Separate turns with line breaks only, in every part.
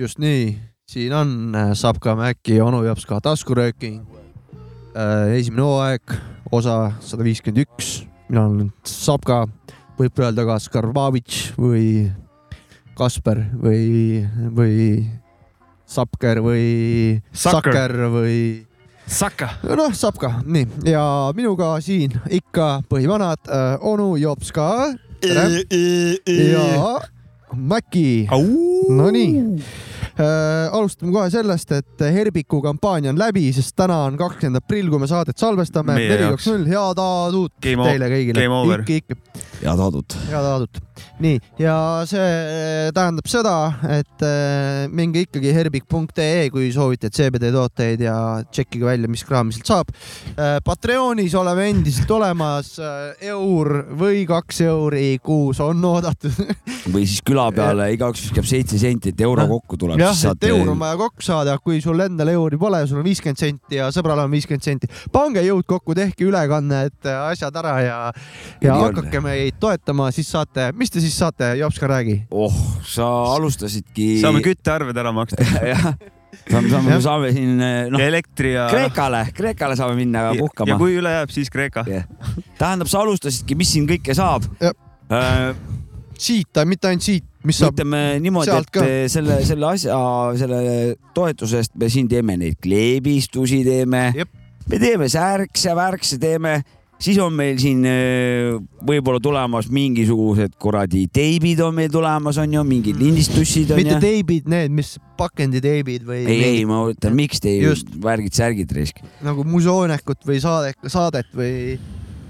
just nii , siin on Sapka Mäkki ja onu Japs ka taskurööking . esimene hooaeg , osa sada viiskümmend üks , mina olen Sapka , võib öelda ka Skarbavitš või Kasper või , või Sapker või
Sakker.
Sakker või
Saka .
noh , Sapka , nii ja minuga siin ikka põhivanad , onu Jops ka ja Mäki . Nonii. . äh, alustame kohe sellest , et Herbiku kampaania on läbi , sest täna on kakskümmend aprill , kui me saadet salvestame .
Meie
neli ,
jaoks.
kaks , null , head aadut
Game over .
teile kõigile .
game over.
ikka , ikka ,
head adut .
head aadut . nii , ja see eh, tähendab seda , et äh, minge ikkagi herbik.ee , kui soovite CBD tooteid ja tšekkige välja , mis kraami sealt saab äh, . Patreonis oleme endiselt olemas äh, , eur või kaks euri kuus on oodatud .
või siis küla peale , igaüks viskab seitse senti , et euro kokku tuleb .
jah , et eur on vaja kokku saada , kui sul endal euri pole , sul on viiskümmend senti ja sõbral on viiskümmend senti . pange jõud kokku , tehke ülekanne , et eh, asjad ära ja , ja
Nii on.
hakake meid toetama , siis saate , mis te siis saate , Jops ka räägi .
oh , sa alustasidki .
saame küttearved ära maksta
jah , saame , saame ,
Jah.
saame siin ,
no.
noh
ja , elektri ja .
Kreekale , Kreekale saame minna
ja
puhkama .
kui üle jääb , siis Kreeka .
tähendab , sa alustasidki , mis siin kõike saab Äh,
Jah. . siit , mitte ainult siit , mis saab ,
ütleme niimoodi ,
sealt
et
ka.
eh, selle , selle asja , selle toetuse eest me siin teeme neid kleebistusi , teeme
Jep. ,
me teeme särkse , värkse teeme , siis on meil siin eh, võib-olla tulemas mingisugused kuradi teibid on meil tulemas , on ju , mingid lindistussid on
mitte
ju .
teibid , need , mis pakenditeibid või
ei , ei , ma mõtlen , miks
Just.
teibid , värgid-särgid risk .
nagu musoonekut või saadet , saadet või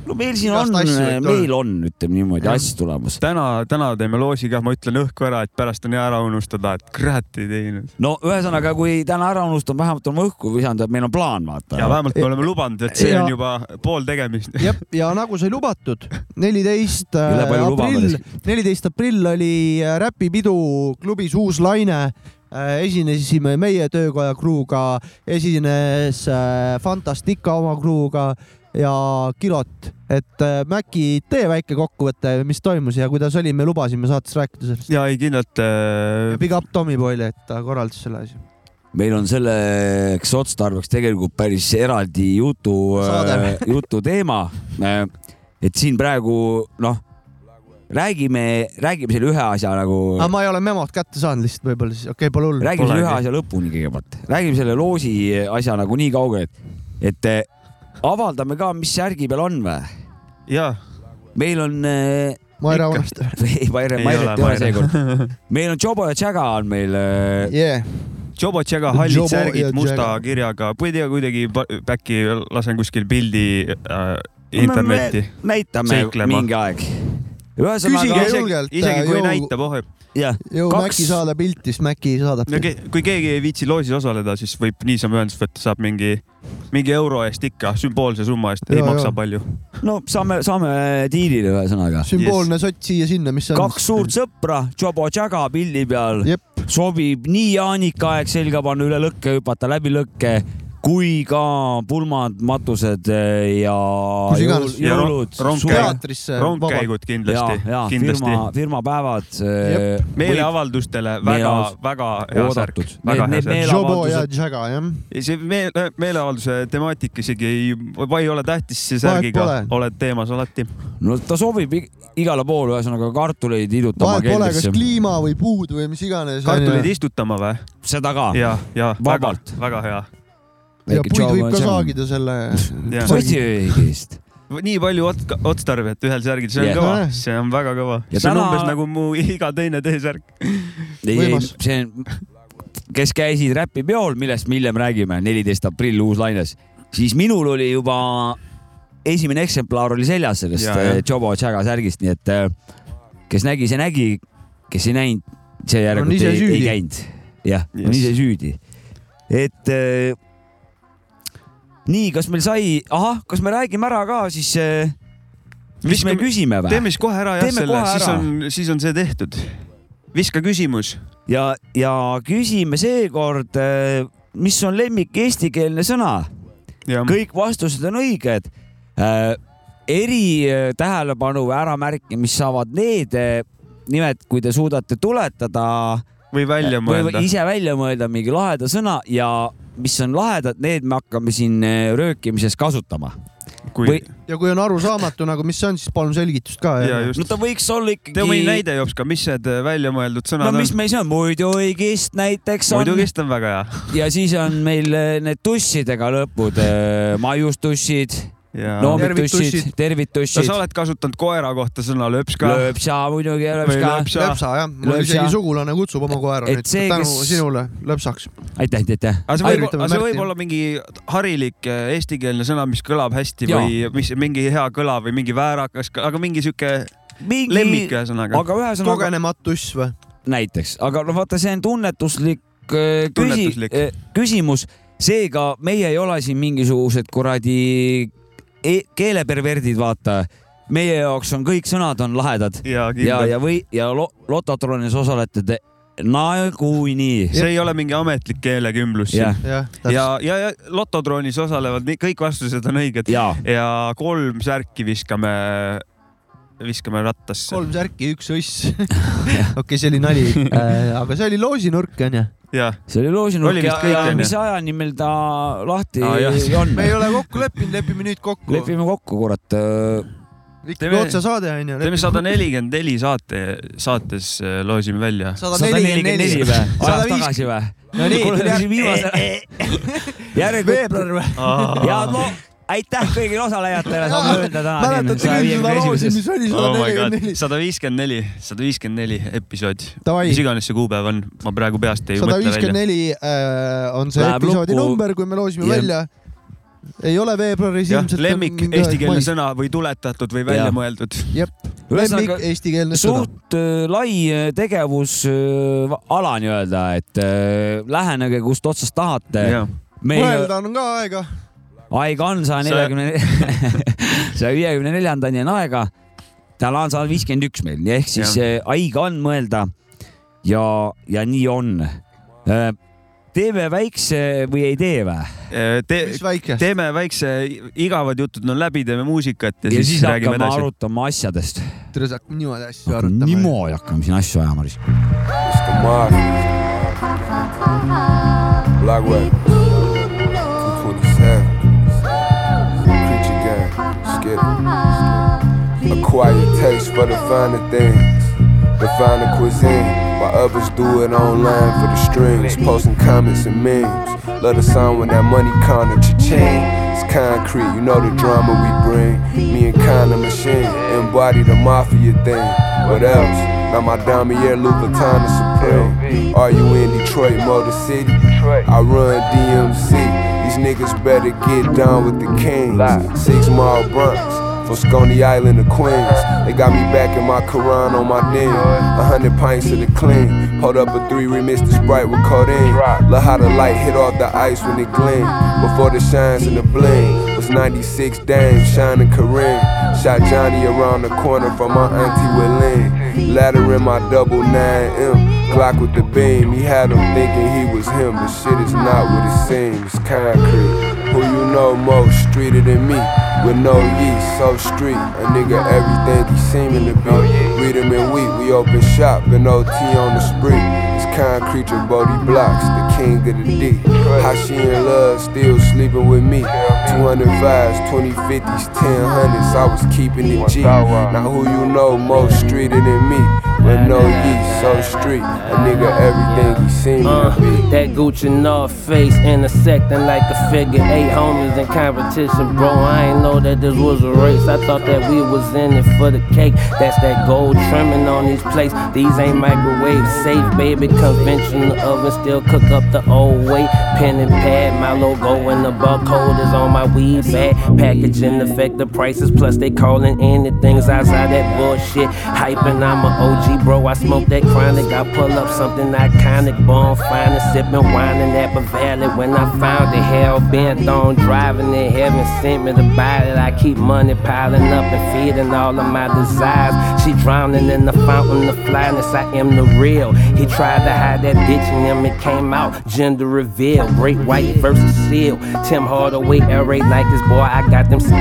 no meil siin
Igast
on ,
asju võib tulla.
Mm, meil on , ütleme niimoodi ,
Jah.
asju tulemas .
täna , täna teeme loosi kah , ma ütlen õhku ära , et pärast on hea ära unustada , et kurat ei teinud .
no ühesõnaga , kui täna ära unustame , vähemalt on õhku visanud , et meil on plaan , vaata .
ja vähemalt me oleme lubanud , et see
Ja-
on juba pool tegemist .
jah , ja nagu sai lubatud , neliteist äh,
Üle palju
aprill
lubamades. ,
neliteist aprill oli äh, räpipidu klubis Uus Laine . esinesime meie töökoja kruuga , esines äh, Fantastica oma kruuga ja Kilot , et äh, Mäkki , tee väike kokkuvõte , mis toimus ja kuidas oli , me lubasime saates rääkida sellest .
ja ei kindlalt äh,
Big up Tommy Boyle , et ta korraldas selle asja .
meil on selleks otstarbeks tegelikult päris eraldi jutu äh,
Saade. ,
jututeema . Äh, et siin praegu noh , räägime , räägime selle ühe asja nagu ,
aga ma ei ole memot kätte saanud lihtsalt võib-olla siis , okei okay, , pole hullu .
räägime
polegi.
selle ühe asja lõpuni kõigepealt , räägime selle loosi asja nagu nii kaugele , et , et eh, avaldame ka , mis särgi peal on või ?
ja
meil on ,
ma ei
ikka.
rahunesta .
ei , Maire ,
Ei
Mairet
ole,
ei ole
Mairet.
seekord . meil on Jobo ja Jaga on meil eh,
Yeah.
äh, Jobo Tšega hallid
Jobo
Jobo
ja
särgid musta
Tšega.
kirjaga , ma ei tea , kuidagi pa- äkki lasen kuskil pildi äh, internetti .
näitame
Seiklema.
mingi aeg .
Küsige
ühesõnaga ,
isegi
julgelt, äh,
isegi kui
jõu-
ei näita , poheb .
jah ,
jõu
Kaks-
Mäkki saada pilti , siis Mäkki saadab
no . ke- kui keegi ei viitsi loosis osaleda , siis võib niisama ühendust võtta , saab mingi , mingi euro eest ikka , sümboolse summa eest , ei
Jaa,
maksa
jaa.
palju .
no saame , saame diilile ühesõnaga .
sümboolne yes. sott siia-sinna , mis on .
kaks suurt sõpra , Jobo Jaga pildi peal
Jep. ,
sobib nii Jaanika aeg selga panna , üle lõkke hüpata , läbi lõkke , kui ka pulmad , matused eh, ja
Kus iganes.
jõul- jõulud
Ja ro- . rongkäik.
teatrisse .
rongkäigud
ja
kindlasti ,
ja ,
kindlasti
firma , eh, firmapäevad .
Jep.
meeleavaldustele
Meeleavaldus-
väga-väga hea särk
oodatud. ,
väga
Need-
hea
need
särk .
Jobo ja
meeleavaldused.
Jaga jah .
see meele , meeleavalduse temaatika isegi ei , ei ole tähtis , see
Vahet
särgiga
pole.
oled teemas alati .
no ta sobib ig- igale poole , ühesõnaga kartuleid idutama
vahet pole , kas
keldrisse ,
kliima või puud või mis iganes .
kartuleid istutama või ?
seda ka .
ja , ja väga
Vabalt. ,
väga hea .
ja puid võib ka . saagida selle .
Jah.
postiõigist .
nii palju ot- , otstarvet ühel särgil , see on
Jah.
kõva , see on väga kõva .
Ja
see on
täna-
umbes nagu mu iga teine T-särk .
ei , ei ,
Võimas.
see on , kes käisid räpipeol , millest me hiljem räägime , neliteist aprill Uus-Laines , siis minul oli juba esimene eksemplar oli seljas sellest
Ja,
eh,
jah.
Jobo Tšaga särgist , nii et eh, kes nägi , see nägi , kes ei näinud , see
On
järelikult
ise
ei,
süüdi.
ei käinud . jah , on
Yes.
ise süüdi . et eh, nii , kas meil sai , ahah , kas me räägime ära ka siis , mis me küsime või ?
teeme siis kohe ära jah
Teeme
selle ,
kohe
siis
ära.
on , siis on see tehtud . viska küsimus .
ja , ja küsime seekord , mis on lemmik eestikeelne sõna , kõik vastused on õiged . Äh, äh, eritähelepanu või äramärkimist saavad need eh, nimed , kui te suudate tuletada
või välja mõelda
või . ise välja mõelda mingi laheda sõna ja mis on lahedad , need me hakkame siin eh, röökimises kasutama .
kui
või- ,
ja kui on arusaamatu nagu , mis see on , siis palun selgitust ka .
ja just
no . ta võiks olla ikkagi .
tee mõni näide , Jopska , mis need äh, väljamõeldud
no
sõnad
mis
on ?
meil see on , muiduigist näiteks on
muidugi , see on väga hea .
ja siis on meil eh, need tussidega lõpud , maiustussid ,
ja no,
noomitussid , tervitussid
sa , oled kasutanud koera kohta sõna lööps ka ?
lööpsa muidugi ja
Või
lööpska .
lööpsa.
löpsa jah , mul
Löpsa.
isegi sugulane kutsub oma koera
Et
nüüd
see,
tänu
kes-
sinule löpsaks .
aitäh , aitäh , aitäh .
aga see võib ,
tervitame
aga see võib
Märti.
olla mingi harilik eh, eestikeelne sõna , mis kõlab hästi
Jaa.
või mis mingi hea kõla või mingi väärakas , aga mingi sihuke lemmik
mingi ,
ühesõnaga .
aga ühesõnaga
kogenematu uss või ?
näiteks , aga no vaata , see on tunnetuslik, eh, küsi,
Tunnetuslik.
eh, küsimus , seega meie ei ole siin mingisugused kuradi e keeleperverdid , vaata . meie jaoks on kõik sõnad on lahedad
ja
ja ,
kindlalt .
ja või ja lo, Lototronis osalete te nagunii .
see ei ole mingi ametlik keelekümblus
jah
siin .,
jah ,
ja , ja , ja Lototroonis osalevad nii- kõik vastused on õiged
ja
ja kolm särki viskame , viskame rattasse .
kolm särki , üks õss . okei , see oli nali äh, , aga see oli loosinurk onju .
jah ,
see oli loosinurk
Oli
ja
vist kõik, ,
ja
onju?
mis ajani meil ta lahti
Aa, jah.
on
me ? ei ole kokku leppinud , lepime nüüd kokku .
lepime kokku , kurat .
ikkagi
Teeme-
otsesaade onju .
teeme sada nelikümmend neli saate , saates eh, loosime välja .
sada
sada nelikümmend neli või ? ajas tagasi või ?
No nii,
kuule ,
tuli-
siis viimase . järgmine .
veebruar või ?
ja no aitäh kõigile osalejatele , saab öelda täna .
mäletate küll seda loosi , mis
Oh
oli sada nelikümmend neli ?
sada viiskümmend neli , sada viiskümmend neli episood ,
Davai
mis , iganes see kuupäev on , ma praegu peast ei
sada
mõtle
viiskümmend
välja .
neli äh, on see
Läheb
episoodi
lukku.
number , kui me loosime
Jah.
välja . ei ole veebruaris
jah ,
ilmselt .
lemmik , eestikeelne . sõna või tuletatud või välja
Jah.
mõeldud .
lemmik
ühesõnaga ,
eestikeelne sõna .
suht äh, lai äh, tegevusala nii-öelda , et äh, lähenege kust otsast tahate .
ja
meil
mõelda on ka aega .
aega on saja neljakümne , saja viiekümne neljandani on aega . täna on sada viiskümmend üks meil , ehk siis
Jah.
äh, aega on mõelda ja , ja nii on . teeme väikse või ei tee või ?
te,
mis väike ?
teeme väikse , igavad jutud on läbi , teeme muusikat ja,
ja siis
räägime
hakkame
edasi .
arutama asjadest .
tere , sa hakkad niimoodi asju arutama .
niimoodi hakkame siin asju ajama siis .
Blackwell. 27. Preacher gang. Skip. Acquire taste for the finer things. The finer cuisine. While others do it online for the streams. Posting comments and memes. Love the sound when that money counter cha-ching. It's concrete, you know the drama we bring. Me and Conor Machine embody the mafia thing. What else? Now my Damier Louis Vuitton is supreme. Are you in Detroit, Motor City? I run DMC. These niggas better get down with the kings. Six Mile Bronx. From Stony Island to Queens. They got me back in my Quran on my den. A hundred pints of the clean. Hold up a three, remix the Sprite with codeine. Look how the light hit off the ice when it gleam. Before the shines and the bling. Was 96 Dame, shining Kareem. Shot Johnny around the corner from my auntie Willene. Ladder in my double 9M. Glock with the beam. He had him thinking he was him. But shit is not what it seems. Concrete. Who you know most streeter than me? With no yeast, so street. A nigga, everything he seeming to be. Read him and weep. We open shop, been OT on the spree. It's concrete, your Bodie blocks, the king of the D. How she in love, still sleeping with me. 200 vibes, 2050s, 1000s. I was keeping it G. Now who you know most streeter than me? With no yeast, so street. A nigga, everything he seeming to be.
Uh, that Gucci North Face intersecting like a figure eight homies in competition, bro. I ain't know that this was a race. I thought that we was in it for the cake. That's that gold trimming on these plates. These ain't microwave safe, baby. Conventional oven still cook up the old way. Pen and pad, my logo and the barcode is on my weed bag. Packaging affect the prices, plus they calling in the things outside that bullshit. Hyping, I'm a OG, bro. I smoke that chronic. I pull up something iconic, born finer, sipping wine in Napa Valley. When I found it, hell bent on driving it. Heaven sent me to buy it. I keep money piling up and feeding all of my desires. She drowning in the fountain of flyness. I am the real. He tried to hide that bitch in him. It came out gender reveal. Great white versus seal. Tim Hardaway, LA Lakers. Boy, I got them skills.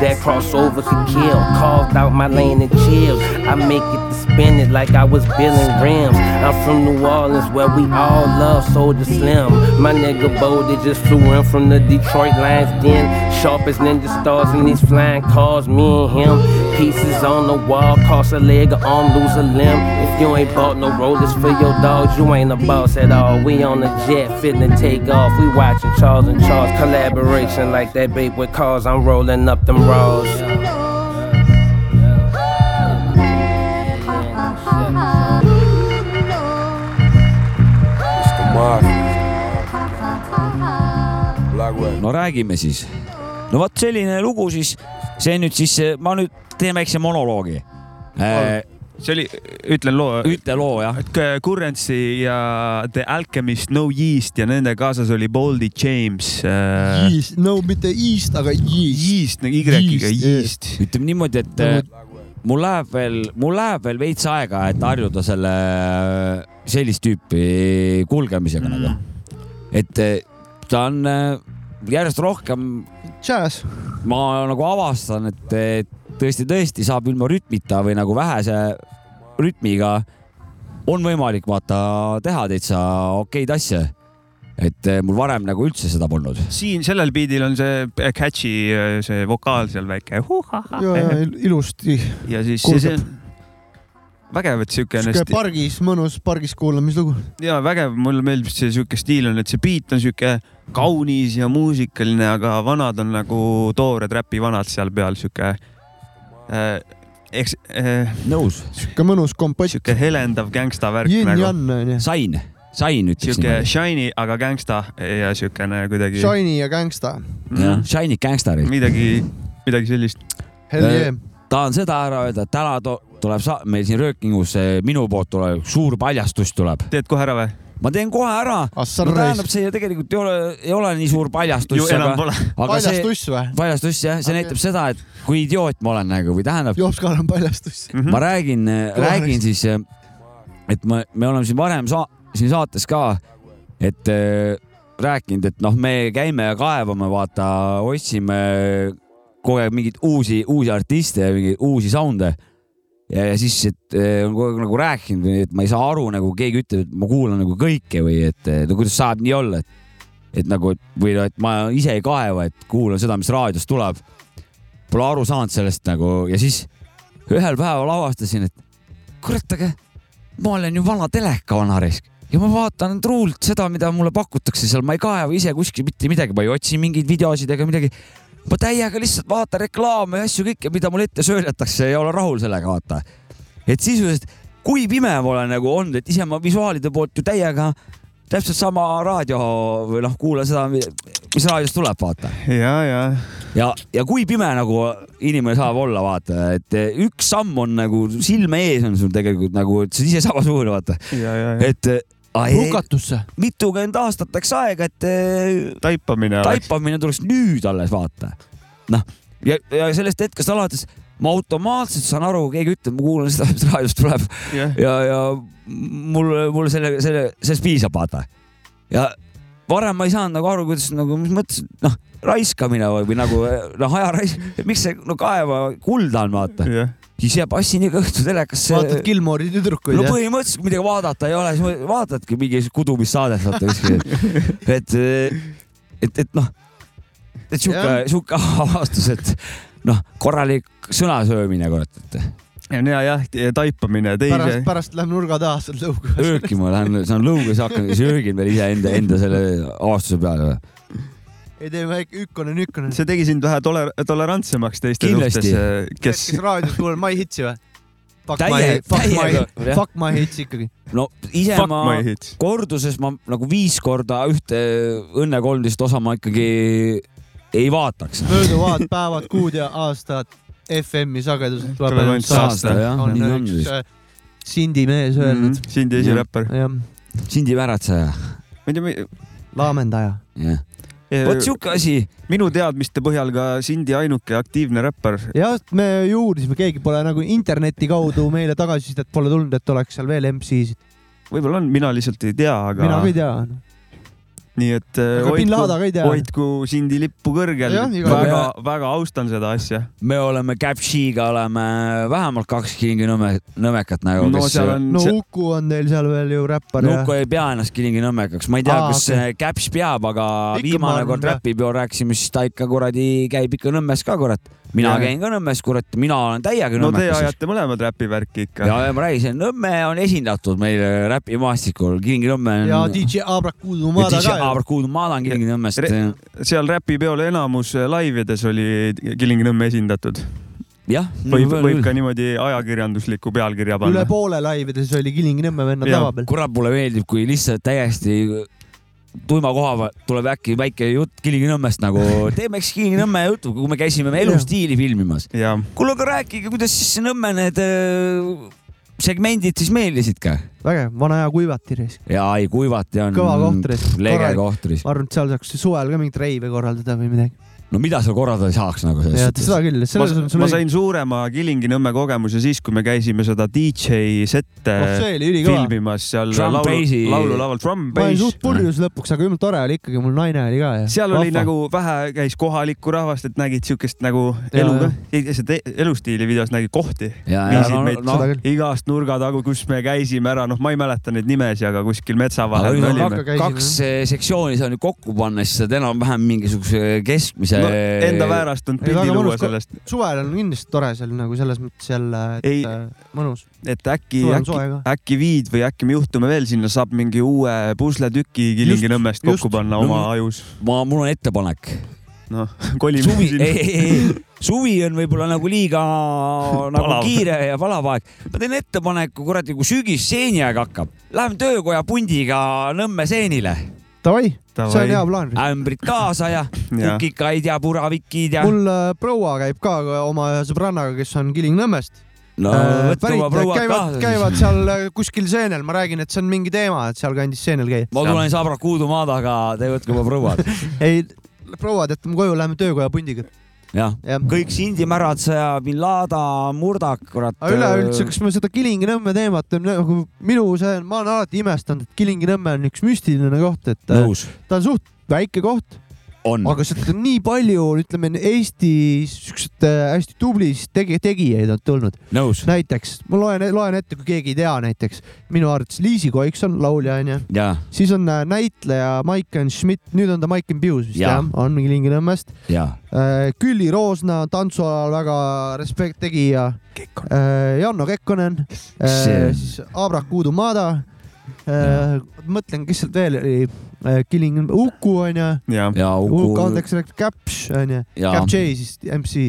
That crossover could kill. Carved out my lane and chills. I make it to spin it like I was billing rims. I'm from New Orleans where we all love Soldier Slim. My nigga Bo, they just flew in from the Detroit Lions Den. Sharp as ninja stars in these flying cars, me and him. Pieces on the wall, cost a leg, an arm, lose a limb. If you ain't bought no rollers for your dogs, you ain't a boss at all. We on a jet, fitting to take off. We watching Charles and Charles collaboration like that babe with cars. I'm rolling up them rolls.
It's the mafia. Blackwell.
no räägime siis . no vot selline lugu siis , see nüüd siis , ma nüüd teen väikse monoloogi . Äh,
see oli , ütlen loo .
ütle loo jah .
et k- Currency ja The Alchemist , No Yeast ja nende kaasas oli Boldy James äh, .
Yeast , no mitte Yeast , aga Yeast .
Yeast , Y-iga
Yeast,
Yeast .
ütleme niimoodi , et äh,
Nagu-
mul läheb veel , mul läheb veel veits aega , et harjuda selle , sellist tüüpi kulgemisega mm. nagu . et äh, ta on äh, järjest rohkem ,
Jazz .
ma nagu avastan , et äh, tõesti-tõesti saab ilma rütmita või nagu vähese rütmiga on võimalik vaata teha täitsa okeid asju . et äh, mul varem nagu üldse seda polnud .
siin sellel beat'il on see catchy äh, see vokaal seal väike .
Ah,
ja , ja
eh.
il- ilusti .
ja siis
Kuulge.
see on vägev , et siukene
sihuke pargis , mõnus pargis kuulamislugu .
ja vägev , mulle meeldib see sihuke stiil on , et see beat on sihuke kaunis ja muusikaline , aga vanad on nagu toored räpi vanad seal peal sihuke äh, . eks äh,
nõus ,
sihuke mõnus kompott .
sihuke helendav gängsta värk nagu ,
Yin-Yan onju .
sain , sain ütleks
sihuke
niimoodi .
shiny , aga gängsta ja siukene kuidagi
Shiny ja Gangsta .
mm,
Shiny Gangsterid .
midagi , midagi sellist .
Hell
Äh,
yeah .
tahan seda ära öelda , et täna to tuleb sa meil siin röökingus eh, minu poolt tuleb suur paljastus tuleb .
teed kohe ära või ?
ma teen kohe ära .
Ah, sa
no tähendab ,
raisk-
see tegelikult ei ole , ei ole nii suur paljastus
ju , enam
aga ,
pole .
aga
paljas
see
tuss või ?
paljastus jah , see
Okei.
näitab seda , et kui idioot ma olen nagu või tähendab ,
Jopskal on paljas tuss .
Mhm.
ma räägin , räägin siis , et ma , me oleme siin varem sa siin saates ka , et eh, rääkinud , et noh , me käime ja kaevame , vaata , otsime kogu aeg mingeid uusi , uusi artiste ja mingeid uusi sound'e . ja , ja siis , et eh, on kogu aeg nagu rääkinud , et ma ei saa aru , nagu keegi ütleb , et ma kuulan nagu kõike või et eh, no kuidas saab nii olla , et , et nagu , et või noh , et ma ise ei kaeva , et kuulan seda , mis raadiost tuleb . Pole aru saanud sellest nagu ja siis ühel päeval avastasin , et kurat , aga ma olen ju vana telekaanarisk ja ma vaatan truult seda , mida mulle pakutakse seal , ma ei kaeva ise kuskil mitte midagi , ma ei otsi mingeid videosid ega midagi . ma täiega lihtsalt vaatan reklaame ja asju kõike , mida mulle ette söödetakse ja olen rahul sellega , vaata . et sisuliselt , kui pime ma olen nagu olnud , et ise ma visuaalide poolt ju täiega täpselt sama raadio või noh , kuulan seda , mis raadiost tuleb , vaata
ja , ja
ja , ja kui pime nagu inimene saab olla , vaata , et üks samm on nagu silme ees on sul tegelikult nagu , et sa oled ise sama suur , vaata ,
ja , ja , ja
et äh, ai,
hukatusse .
mitukümmend aastat läks aega , et eh,
taipamine oleks .
taipamine tuleks nüüd alles vaata . noh , ja , ja sellest hetkest alates ma automaatselt saan aru , kui keegi ütleb , ma kuulan seda , mis raadiost tuleb
jah ,
ja , ja mul , mul selle , selle , sellest piisab , vaata . ja varem ma ei saanud nagu aru , kuidas nagu , mis mõttes , noh , raiskamine või, või nagu noh , ajaraisk , miks see no kaeva kulda on , vaata .
jah .
siis jääb assin iga õhtu telekasse .
vaatad Gilmori tüdrukuid
no
jah ?
põhimõtteliselt midagi vaadata ei ole , siis vaatadki mingi kudumissaadet , vaata kuskil . et , et , et noh , et sihuke
Jah. ,
sihuke avastus , et noh , korralik sõnasöömine , kurat , et
ja , jah , taipamine teise
pärast ,. pärast läheb nurga taha seal lõuga .
ööki ma lähen , saan lõuga , siis hakkan , siis öögin veel iseenda , enda selle avastuse peale .
ei tee väike ükkone nükkone .
Mm. see tegi sind vähe toler- , tolerantsemaks teiste
Kindlasti.
suhtes , kes
kes raadios kuulab My Hitsi või ? Fuck my
täie ,
fuck my ,
täiega ,
fuck my hits ikkagi .
no ise
fuck
ma
my hits .
korduses ma nagu viis korda ühte Õnne kolmteist osa ma ikkagi ei vaataks .
mööduvad päevad , kuud ja aastad FM-i sageduselt tuleb
Tuleb
ainult
ainult saasta.
saasta .
jah ,
on
nii on
üks
vist .
äh, Sindi mees öelnud .
Sindi esiräppar .
jah ,
Sindi Väratseja ,
ma ei
laamendaja .
jah . vot
tea ,
sihuke asi ,
minu teadmiste põhjal ka Sindi ainuke aktiivne räppar .
jah , me ju uurisime , keegi pole nagu interneti kaudu meile tagasisidet pole tulnud , et oleks seal veel MC-sid . noh.
võib-olla on , mina lihtsalt ei tea , aga
mina ka ei tea .
nii et äh,
Aga bin Laden ka ei
hoidku
tea. ,
hoidku Sindi lippu kõrgel
Jah, . igal
juhul.
väga-väga austan seda asja .
me oleme Capshiga oleme vähemalt kaks kingi nõme , nõmekat nagu .
no seal on
no
see-
Uku on neil seal veel ju räppar ja
Nuku ei pea ennast kilingi nõmekaks , ma ei tea ,
Aa,
kas
okei.
okay. Caps peab , aga
Ikka
ikka viimane
ma
kord
arvan,
räpipeol rääkisime , siis ta ikka kuradi käib ikka Nõmmes ka kurat . mina
Jaa.
käin ka Nõmmes , kurat , mina olen täiega
no te
nõmmekas .
ajate mõlemad räpivärki ikka
ja . ma räägin , Nõmme on esindatud meil räpimaastikul , Kilingi Nõmme on .
ja DJ Abrakudu Mada ka ju .
Abrakuud , ma olen Kilingi Nõmmest .
Re- seal räpipeol enamus laivides oli Kilingi-Nõmme esindatud .
jah ,
võib , võib ka niimoodi ajakirjandusliku pealkirja
üle
panna .
poole laivides oli Kilingi-Nõmme venna
Jaa.
tava peal .
kurat , mulle meeldib , kui lihtsalt täiesti tuima koha pealt tuleb äkki väike jutt Kilingi-Nõmmest nagu , teeme eks Kilingi-Nõmme jutu , kui me käisime elustiili filmimas .
jah ,
kuule , aga rääkige , kuidas siis see Nõmme need öö, segmendid siis meeldisid ka ?
vägev , vana hea kuivati reis .
ja ei , kuivati on .
Kõva kohtris.
lege
Korralik.
kohtris .
ma arvan , et seal saaks suvel ka mingit reive korraldada või midagi .
no mida seal korraldada ei saaks nagu selles
seda
suhtes .
küll ,
ma
selles on , sul
ma
õigus .
sain suurema Kilingi-Nõmme kogemuse siis , kui me käisime seda DJ sette
oh , see oli ülikõva .
filmimas seal
Drum
laulu
bassi- ,
laululaval Drum
ma olin
Bass
suht . purjus lõpuks , aga jumala tore oli ikkagi , mul naine oli ka ja .
seal oli nagu vähe , käis kohalikku rahvast , et nägid siukest nagu
Jaa,
elu e-
jah. ,
seda elustiili videos nägid kohti
ja , ja
viisid
no ,
meid
no
seda küll .
igast nurgatagu , kus me käisime ära , noh , ma ei mäleta neid nimesi , aga kuskil metsa
aga
vahel
nüüd
me
on
olime .
kak- kaks eh, sektsiooni seal nüüd kokku panna , siis saad enam-vähem mingisuguse keskmise
No, enda väärastunud
Ei, väga
pildi luua
mõnus ka-
sellest ,
suvel on kindlasti tore seal nagu selles mõttes jälle , et
Ei.
äh, mõnus .
et äkki ,
suvel on
äkki
soe ka .
äkki viid või äkki me juhtume veel sinna , saab mingi uue pusletüki Kilingi-Nõmmest
Just,
kokku panna oma
No.
ajus .
ma , mul on ettepanek .
noh , kolime
suvi , ei ,
sinna .
ei , ei , suvi on võib-olla nagu liiga nagu
Palav.
kiire ja palav aeg . ma teen ettepaneku , kuradi , kui sügis seeniaeg hakkab , läheme töökoja pundiga Nõmme seenile ,
Davai ,
Davai.
see on hea plaan .
ämbrid kaasa ja
Jaa.
kukikaid ja puravikid ja .
mul äh, proua käib ka aga oma ühe sõbrannaga , kes on Kilingi-Nõmmest .
no võta oma prouad
käivad ,
kaasa siis .
käivad seal äh, kuskil seenel , ma räägin , et see on mingi teema , et sealkandis seenel käia .
ma tulen Sabra Kuudumaadaga , te võtke oma prouad .
ei , proua teate , me koju läheme töökoja pundiga .
jah ,
jah .
kõik Sindi märatseja , bin Laden , Murdak , kurat . äh,
aga üleüldse , kas me seda Kilingi-Nõmme teemat on nagu minu see , ma olen alati imestanud , et Kilingi-Nõmme on üks müstiline koht , et ta,
nõus
ta on suht väike koht ,
on .
aga sealt on nii palju , ütleme Eestis siukseid äh, hästi tublisid tegi- , tegijaid on tulnud .
nõus
näiteks ma loen , loen ette , kui keegi ei tea näiteks , minu arvates Liisi Koiks on laulja onju ,
ja ,
siis on äh, näitleja Maiken Schmidt , nüüd on ta Maiken Pius vist
Jaa.
jah , on Kilingi-Nõmmest .
ja
Äh, Külli Roosna tantsualal väga respekt tegija . Janno Kekkonen ,
See-
siis Abrak Udumada . mõtlen , kes sealt veel oli , Killing , Uku onju ,
ja ,
ja
Uku
Uku
andeks , Caps onju ,
ja
Cap J siis MC .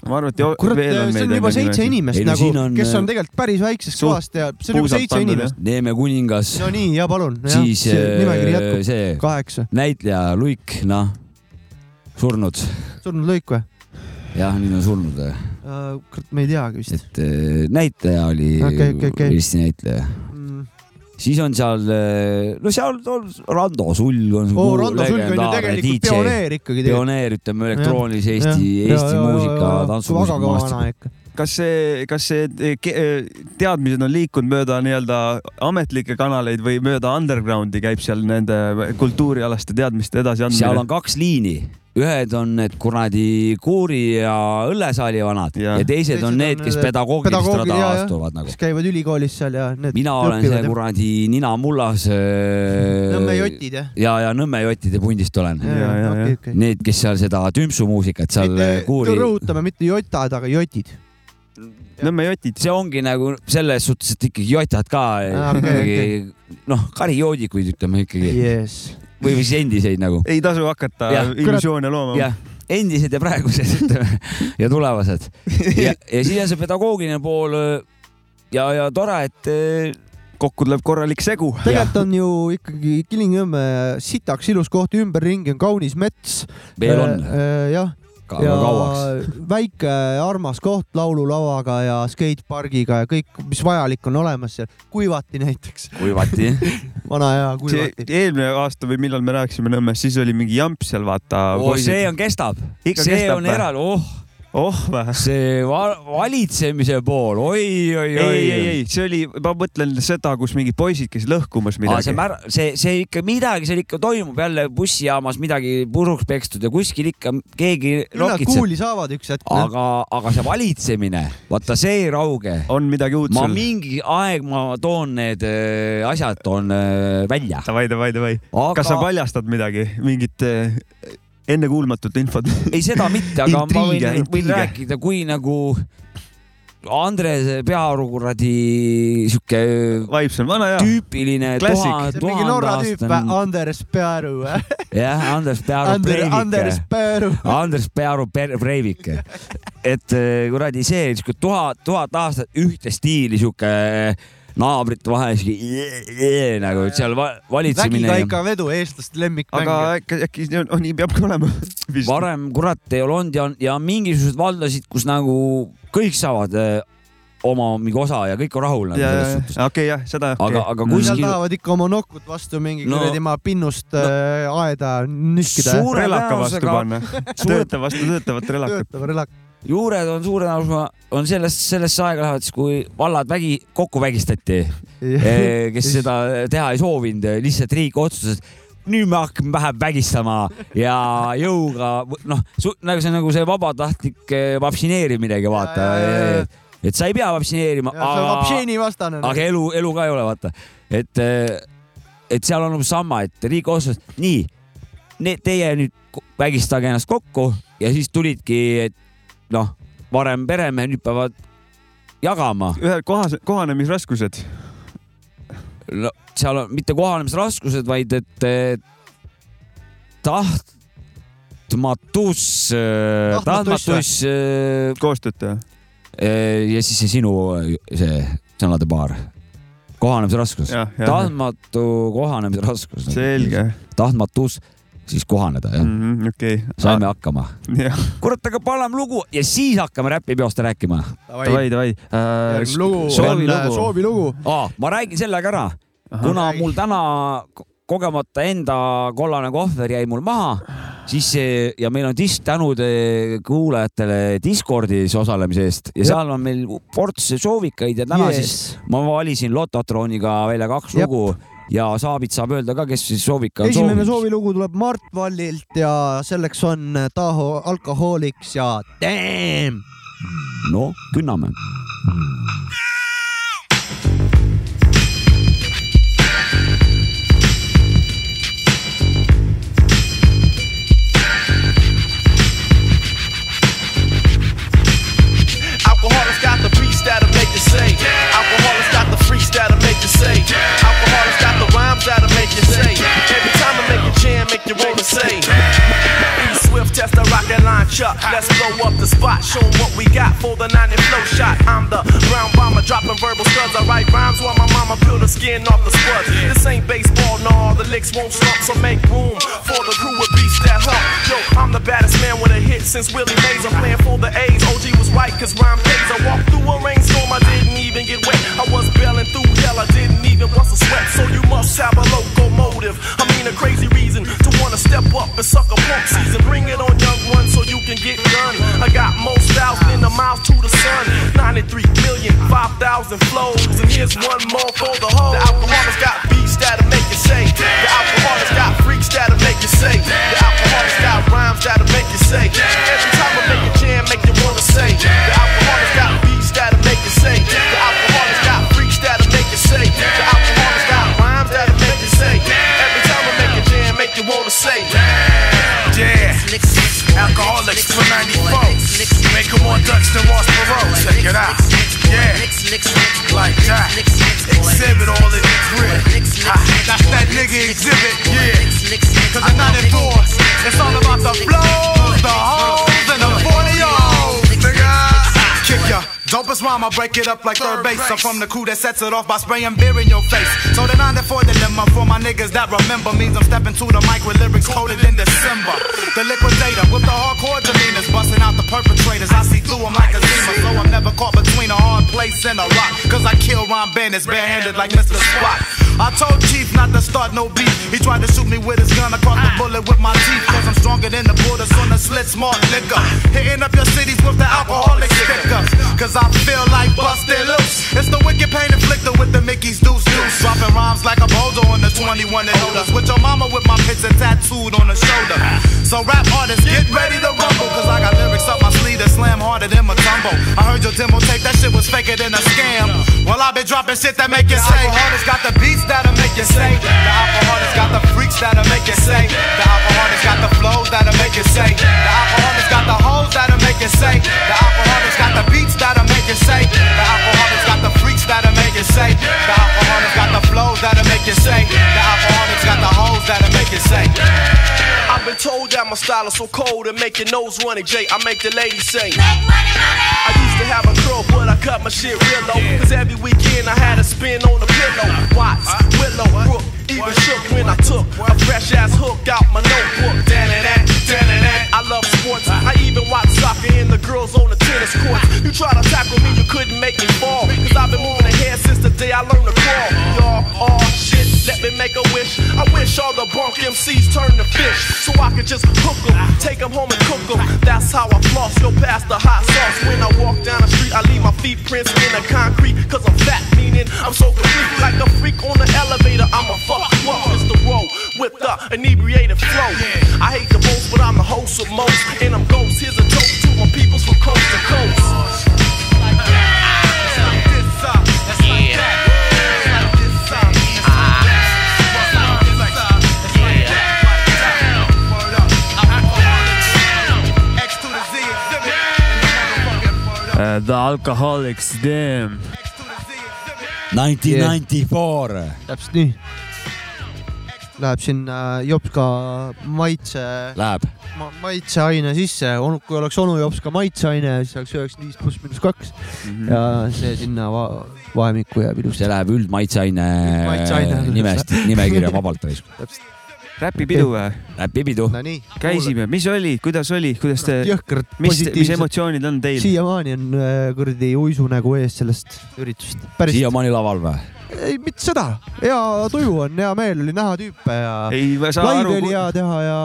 kurat ,
ma arvan , et jo- veel on
see
neid
on juba seitse . inimest
Ei no
nagu
siin on, , äh,
kes on tegelikult päris väiksest
suht
kohast ja see on juba
puusalt
seitse
pandud,
inimest .
Neeme kuningas ,
no nii , ja palun , jah ,
siis
see nimekiri
eh,
jätkub ,
see
kaheksa ,
näitleja Luik , noh , surnud ,
surnud lõik või ?
jah , nüüd on surnud ,
Äh, kurat , me ei teagi vist
et eh, näitleja oli
Okei, okei, okei.
Eesti näitleja .
Mm.
siis on seal , no seal on Rando Sulg
oo ,
on suur
Rando Sulg on ju
legendaarne
tegelikult pioneer ikkagi .
pioneer , ütleme elektroonilise Eesti , Eesti muusika , tantsumuusika maastikul .
maastikul .
kas see , kas see te- ke- eh, teadmised on liikunud mööda nii-öelda ametlikke kanaleid või mööda undergroundi käib seal nende kultuurialaste teadmiste
seal
edasiandmine
on ? kaks liini , ühed on need kuradi kuuri ja õllesaali vanad ja,
Jah.
ja teised on need , kes pedagoogilist
pedagoogid,
rada
jaa, jah.
astuvad nagu
kes . käivad ülikoolis seal ja need .
mina olen see . kuradi nina mullas .
Nõmme jotid jah ?
ja , ja Nõmme jotide pundist olen .
Jaa, jaa, jaa.
okei , äh, okei .
Need , kes seal seda tümpsumuusikat seal äh, kuuri ,
rõhutame mitte jotad , aga jotid .
Nõmme jotid ,
see ongi nagu selles suhtes , et ikkagi jotad ka äh,
Aa, Ah, okei,
ikkagi noh , karioodikuid ütleme ikkagi
jess .
või , või siis endiseid nagu
ei tasu hakata
Jah,
illusioone looma .
jah , endised ja praegused ütleme ja tulevased ja , ja siis on see pedagoogiline pool äh, ja , ja tore , et eh,
kokku tuleb korralik segu .
tegelikult on ju ikkagi Kilingi-Nõmme sitaks ilus koht , ümberringi on kaunis mets .
veel on
jah ,
ka
ja
ja... kauaks .
väike armas koht laululavaga ja skatepargiga ja kõik , mis vajalik on olemas seal . kuivati näiteks ,
kuivati
vana hea
see
kuivati .
eelmine aasta või millal me rääkisime Nõmmest , siis oli mingi jamp seal vaata .
oh, . see on , kestab ,
Ikka
see
kestab
on
või?
eraldi , oh ,
oh vä ?
see va valitsemise pool , oi , oi ,
ei ,
oi .
ei , ei , see oli , ma mõtlen seda , kus mingid poisid käisid lõhkumas
midagi . see
midagi .
mär- , see , see ikka midagi seal ikka toimub jälle bussijaamas midagi puruks pekstud ja kuskil ikka keegi
Nad
lokitseb ,
kuuli saavad üks hetk .
aga , aga see valitsemine , vaata see ei rauge .
on midagi uut
ma
sul ?
mingi aeg , ma toon need öö, asjad toon öö, välja .
Davai , davai , davai .
aga
kas sa paljastad midagi , mingit eh, ennekuulmatut infot ?
ei , seda mitte , aga ma võin
Intriige, ,
võin
intriige.
rääkida , kui nagu Andres Pearu kuradi sihuke
Vibes on vana ja .
tüüpiline
Klassik.
see
tuhande ,
on mingi
tuhande
Norra tüüp ,
aastane ,
Anders Pearu .
jah , Andres Pearu
Ander , Anders
preemik .
Pearu .
Andres Pearu per- Breivik , et eh, kuradi see siuke tuhat , tuhat aastat ühte stiili siuke naabrite vahel siuke nagu et seal va-
Vägiga
valitsemine .
ikka vedu , eestlaste lemmikmäng .
aga äkki , äkki nii on- nii peabki olema .
varem kurat ei ole olnud ja , ja mingisugused valdasid , kus nagu kõik saavad eh, oma mingi osa ja kõik on rahul nagu selles suhtes .
okei , Mm. jah , seda .
aga , aga
Nad
kuskil
tahavad ikka oma nokut vastu mingi
No-
kuradi maa pinnust
no-
äh, aeda nühkida .
Suur- suure
relaka vastu
tõenäosusega-
panna ,
suure,
tööta vastu töötavat relakat .
töötav relak .
juured on suure tõenäosusega , on sellest , sellesse aega lähevad siis , kui vallad vägi , kokku vägistati , kes seda teha ei soovinud , lihtsalt riik otsustas , nüüd me hakkame vähe vägistama ja jõuga , noh , nagu see , nagu see vabatahtlik eh, vaktsineerimine , vaata . et sa ei pea vaktsineerima ,
see on
aga
Vapšeni vastane .
aga elu , elu ka ei ole , vaata , et , et seal on umbes sama , et riik otsustas , nii , teie nüüd ko- vägistage ennast kokku ja siis tulidki , et noh , varem peremehe , nüüd peavad jagama
ühel kohas , kohanemisraskused .
no, , seal on mitte kohanemisraskused , vaid et, et tahtmatus ,
Tahtmatus või?
tahtmatus öö,
koostööd teha .
öö, ja siis see sinu see sõnade paar , kohanemisraskus
jah , jah .
tahtmatu kohanemisraskus .
selge .
tahtmatus , siis kohaneda jah mm. ,
okei .
saime ah. hakkama .
jah ,
kurat , aga paneme lugu ja siis hakkame räpipeost rääkima
davai , davai . Äh,
lugu ,
soovilugu.
soovilugu .
ah, . ma räägin sellega ära , kuna mul täna ko- kogemata enda kollane kohver jäi mul maha , siis eh, ja meil on dis- , tänud eh, kuulajatele Discordis osalemise eest ja
Jep.
seal on meil ports soovikaid ja täna yes. siis ma valisin Lototroniga välja kaks
Jep.
lugu ja Saabit saab öelda ka , kes siis soovika on
esimene
soovinud.
soovilugu tuleb Mart Vallilt ja selleks on äh, Taho Alkohooliks ja Damn .
no künname .
Alcoholics got the beats that'll make you say. Alcoholics got the freaks that'll make you say. Alcoholics got the rhymes that'll make you say. Every time I make you jam, make you wanna say. E Swift, test the rocket line, Chuck. Let's blow up the spot, show 'em what we got for the 90 flow shot. I'm the brown bomber, dropping verbal studs. I write rhymes while my mama peel the skin off the spuds. This ain't baseball, nah, the licks won't slump, so make room for the crew with beats that hump. Yo, I'm the baddest man with a hit since Willie Mays. I'm playing for the A's. OG was right, cause rhyme pays. I walked through a rainstorm, I didn't even get wet. I was bailing through hell, I didn't even once a sweat. So you must have a locomotive. I mean, a crazy reason to wanna step up and suck a punk season. Bring it on, young one, so you can get done. I got more styles than a mile to the sun. 93 million, 5,000 flows. And here's one more for the whole. The alcoholics got beats that'll make you say. The alcoholics got freaks that'll make you say. The alcoholics got rhymes that'll make you say. Every time I make a jam, make you wanna say. The alcoholics got beats that'll make you say. The alcoholics got freaks that'll make you say. The alcoholics got rhymes that'll make you say. Every time I make a jam, make you wanna say. Yeah. Alcoholics for 94. Make 'em more Dutch than Ross Perot. Check it out. Yeah. Like that. Exhibit all in the crib. Ha, That's that nigga exhibit. Yeah. Cause I'm not endorsed. It's all about the blows, the hoes, and the 40 Nigga.
Kick ya. Dopest rhyme, I break it up like third base. I'm from the crew that sets it off by spraying beer in your face. So the 9 to 4 dilemma for my niggas that remember means I'm stepping to the mic with lyrics coded in December. The liquidator with the hardcore demeanors, busting out the perpetrators. I see through them like a zima, so I'm never caught between a hard place and a rock. Cause I kill rhyme bandits barehanded like Mr. Spot. I told Chief not to start no beef. He tried to shoot me with his gun. I caught the bullet with my teeth. Cause I'm stronger than the borders on a slit smart liquor. Hitting up your cities with the alcoholic sticker. Cause I feel like busted loose. It's the wicked pain inflicted with the Mickey's deuce deuce. Dropping rhymes like a boulder on the 21 and older. With your mama with my picture tattooed on her shoulder. So rap artists, get ready to rumble. Cause I got lyrics up my sleeve that slam harder than my tumble. I heard your demo tape, that shit was faker than a scam. Well, I've been dropping shit that make you say. The alcoholics got the beats that'll make you say. The alcoholics got the freaks that'll make you say. The alcoholics got the flows that'll make you say. The alcoholics got the hoes that'll make you say. The alcoholics got the beats that'll make you say. The alcoholics got the freaks that'll make you say. The alcoholics got the flows that'll make you say. The alcoholics got the hoes that'll make you say.
I've been told that my style is so cold and make your nose runny, Jay. I make the ladies sing. I used to have a curl, but I cut my shit real low. Cause every weekend I had a spin on the pillow. Watts, Willow, Brook, even shook when I took a fresh ass hook out my notebook. Da-da-da, da-da-da. I love sports. I even watch soccer and the girls on the tennis court. You try to tackle me, you couldn't make me fall. Cause I've been moving ahead since the day I learned to crawl. Y'all, all shit, let me make a wish. I wish all the bunk MCs turned to fish. So I could just hook 'em, take 'em home and cook 'em. That's how I floss, go past the hot sauce. When I walk down the street, I leave my feet prints in the concrete. Cause I'm fat, meaning I'm so complete. Like a freak on the elevator, I'm a fuck you up. It's the road with the inebriated flow. I hate the most, but I'm the host of most. And I'm ghost, here's a toast to my peoples from coast to coast.
Uh, The Alcoholics Damn .
Nineteen ninety four .
täpselt nii . Läheb sinna Jopska maitse ,
Läheb .
maitseaine sisse , kui oleks onu Jopska maitseaine , siis oleks üheksakümmend viis pluss miinus kaks ja see sinna va vahemikku jääb
see
ilusti ära .
läheb üldmaitseaine
Üldmaitseaine.
nimest , nimekirja vabalt raisk .
räpipidu või ?
läbipidu .
Nonii ,
käisime , mis oli , kuidas oli , kuidas te ,
jõhkrad
mis , mis
positiivsed .
emotsioonid on teil ?
siiamaani on äh, kuradi uisunägu ees sellest üritusest . päris ,
siiamaani laval või ?
ei mitte seda , hea tuju on , hea meel oli näha tüüpe ja
ei ma saa
laiv
aru
oli , hea teha ja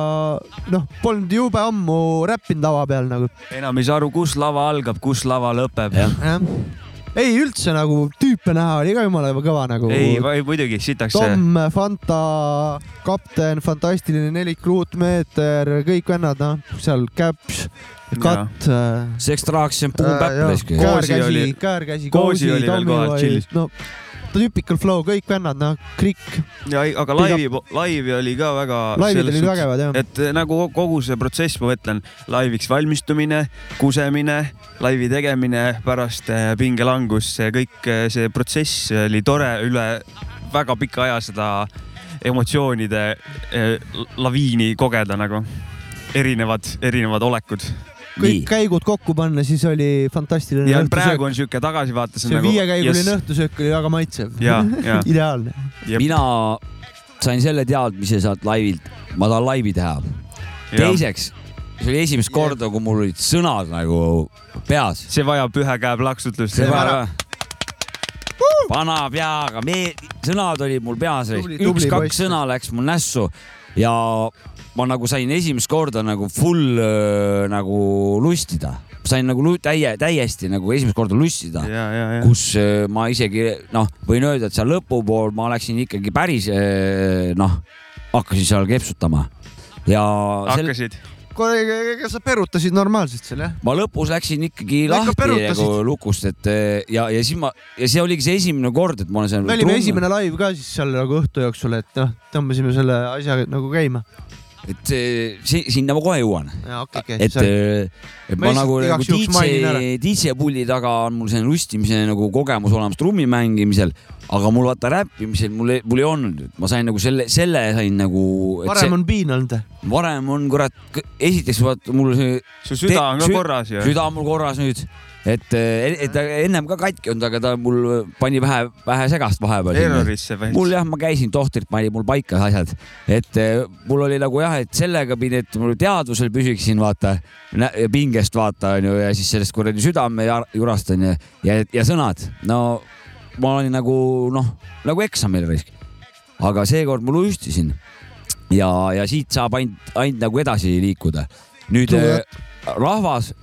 noh , polnud jube ammu räppinud lava peal nagu .
enam ei saa aru , kus lava algab , kus lava lõpeb .
jah . ei üldse nagu tüüpe näha oli ka jumala kõva nagu .
ei , muidugi sitaks .
Tom , Fanta , kapten , fantastiline nelik , ruutmeeter , kõik vennad , noh , seal Caps , Katt ,
seks tahaks , see on Boom Bap raisk .
Koosi
käärkäsi
oli- ,
käärkäsi ,
Koosi oli veel kohal, chillis.
no tüüpikal flow , kõik vennad , noh , Krikk ,
aga laivi , laivi oli ka väga .
laivid olid . vägevad jah .
et nagu kogu see protsess , ma mõtlen , laiviks valmistumine , kusemine , laivi tegemine , pärast äh, pingelangus , see kõik , see protsess oli tore üle väga pika aja seda emotsioonide äh, laviini kogeda nagu erinevad , erinevad olekud .
kõik
nii ,
käigud kokku panna , siis oli fantastiline
ja
õhtusöök
praegu . on nagu- siuke tagasivaates .
see viiekäiguline . õhtusöök oli väga maitsev .
ja , ja
ideaalne .
mina sain selle teadmise sealt laivilt , ma tahan laivi teha .
ja.
teiseks , see oli esimest korda , kui mul olid sõnad nagu peas .
see vajab ühe käe plaksutust .
vana peaga , me , sõnad olid mul peas ,
Tubli- tubli
üks-kaks
poiss.
sõna läks mul nässu ja ma nagu sain esimest korda nagu full öö, nagu lustida , sain nagu lu- täie , täiesti nagu esimest korda lustida
ja , ja , ja .
kus öö, ma isegi noh , võin öelda , et seal lõpupool ma läksin ikkagi päris öö, noh , hakkasin seal kepsutama ja sel,
hakkasid ?
kuule , ega sa perutasid normaalselt seal jah ?
ma lõpus läksin ikkagi
No ikka
lahti
perutasid.
nagu lukust , et öö, ja , ja siis ma ja see oligi see esimene kord , et ma olen seal .
me olime esimene live ka siis seal nagu õhtu jooksul , et noh , tõmbasime selle asja nagu käima .
et eh, si- sinna ma kohe jõuan ,
jaa , okei ,
et , äh,
okei .
et
Ma
ma
lihtsalt
nagu , nagu
igaks juhuks mainin ära.
DJ , DJ pulli taga on mul see lustimise nagu kogemus olemas trummi mängimisel , aga mul vaata räppimisel mul , mul ei olnud , ma sain nagu selle , selle sain nagu .
varem on piin olnud .
on . varem on kurat , esiteks vaata mul see
su süda on ka
Sü-
korras ju ?
süda on mul korras nüüd , et , et ta ennem ka katki olnud , aga ta mul pani vähe , vähe segast vahepeal .
errorisse või ?
mul jah , ma käisin , tohtrit pani mul paika asjad , et eh, mul oli nagu jah , et sellega pidi , et mul teadvusel püsiksin , vaata , pingest vaata onju ja siis sellest kuradi südame ja- jurast onju ja , ja sõnad , no ma olin nagu noh , nagu eksamil risk . aga seekord ma luistisin ja , ja siit saab ainult , ainult nagu edasi liikuda . nüüd
Tule-
eh, rahvas ,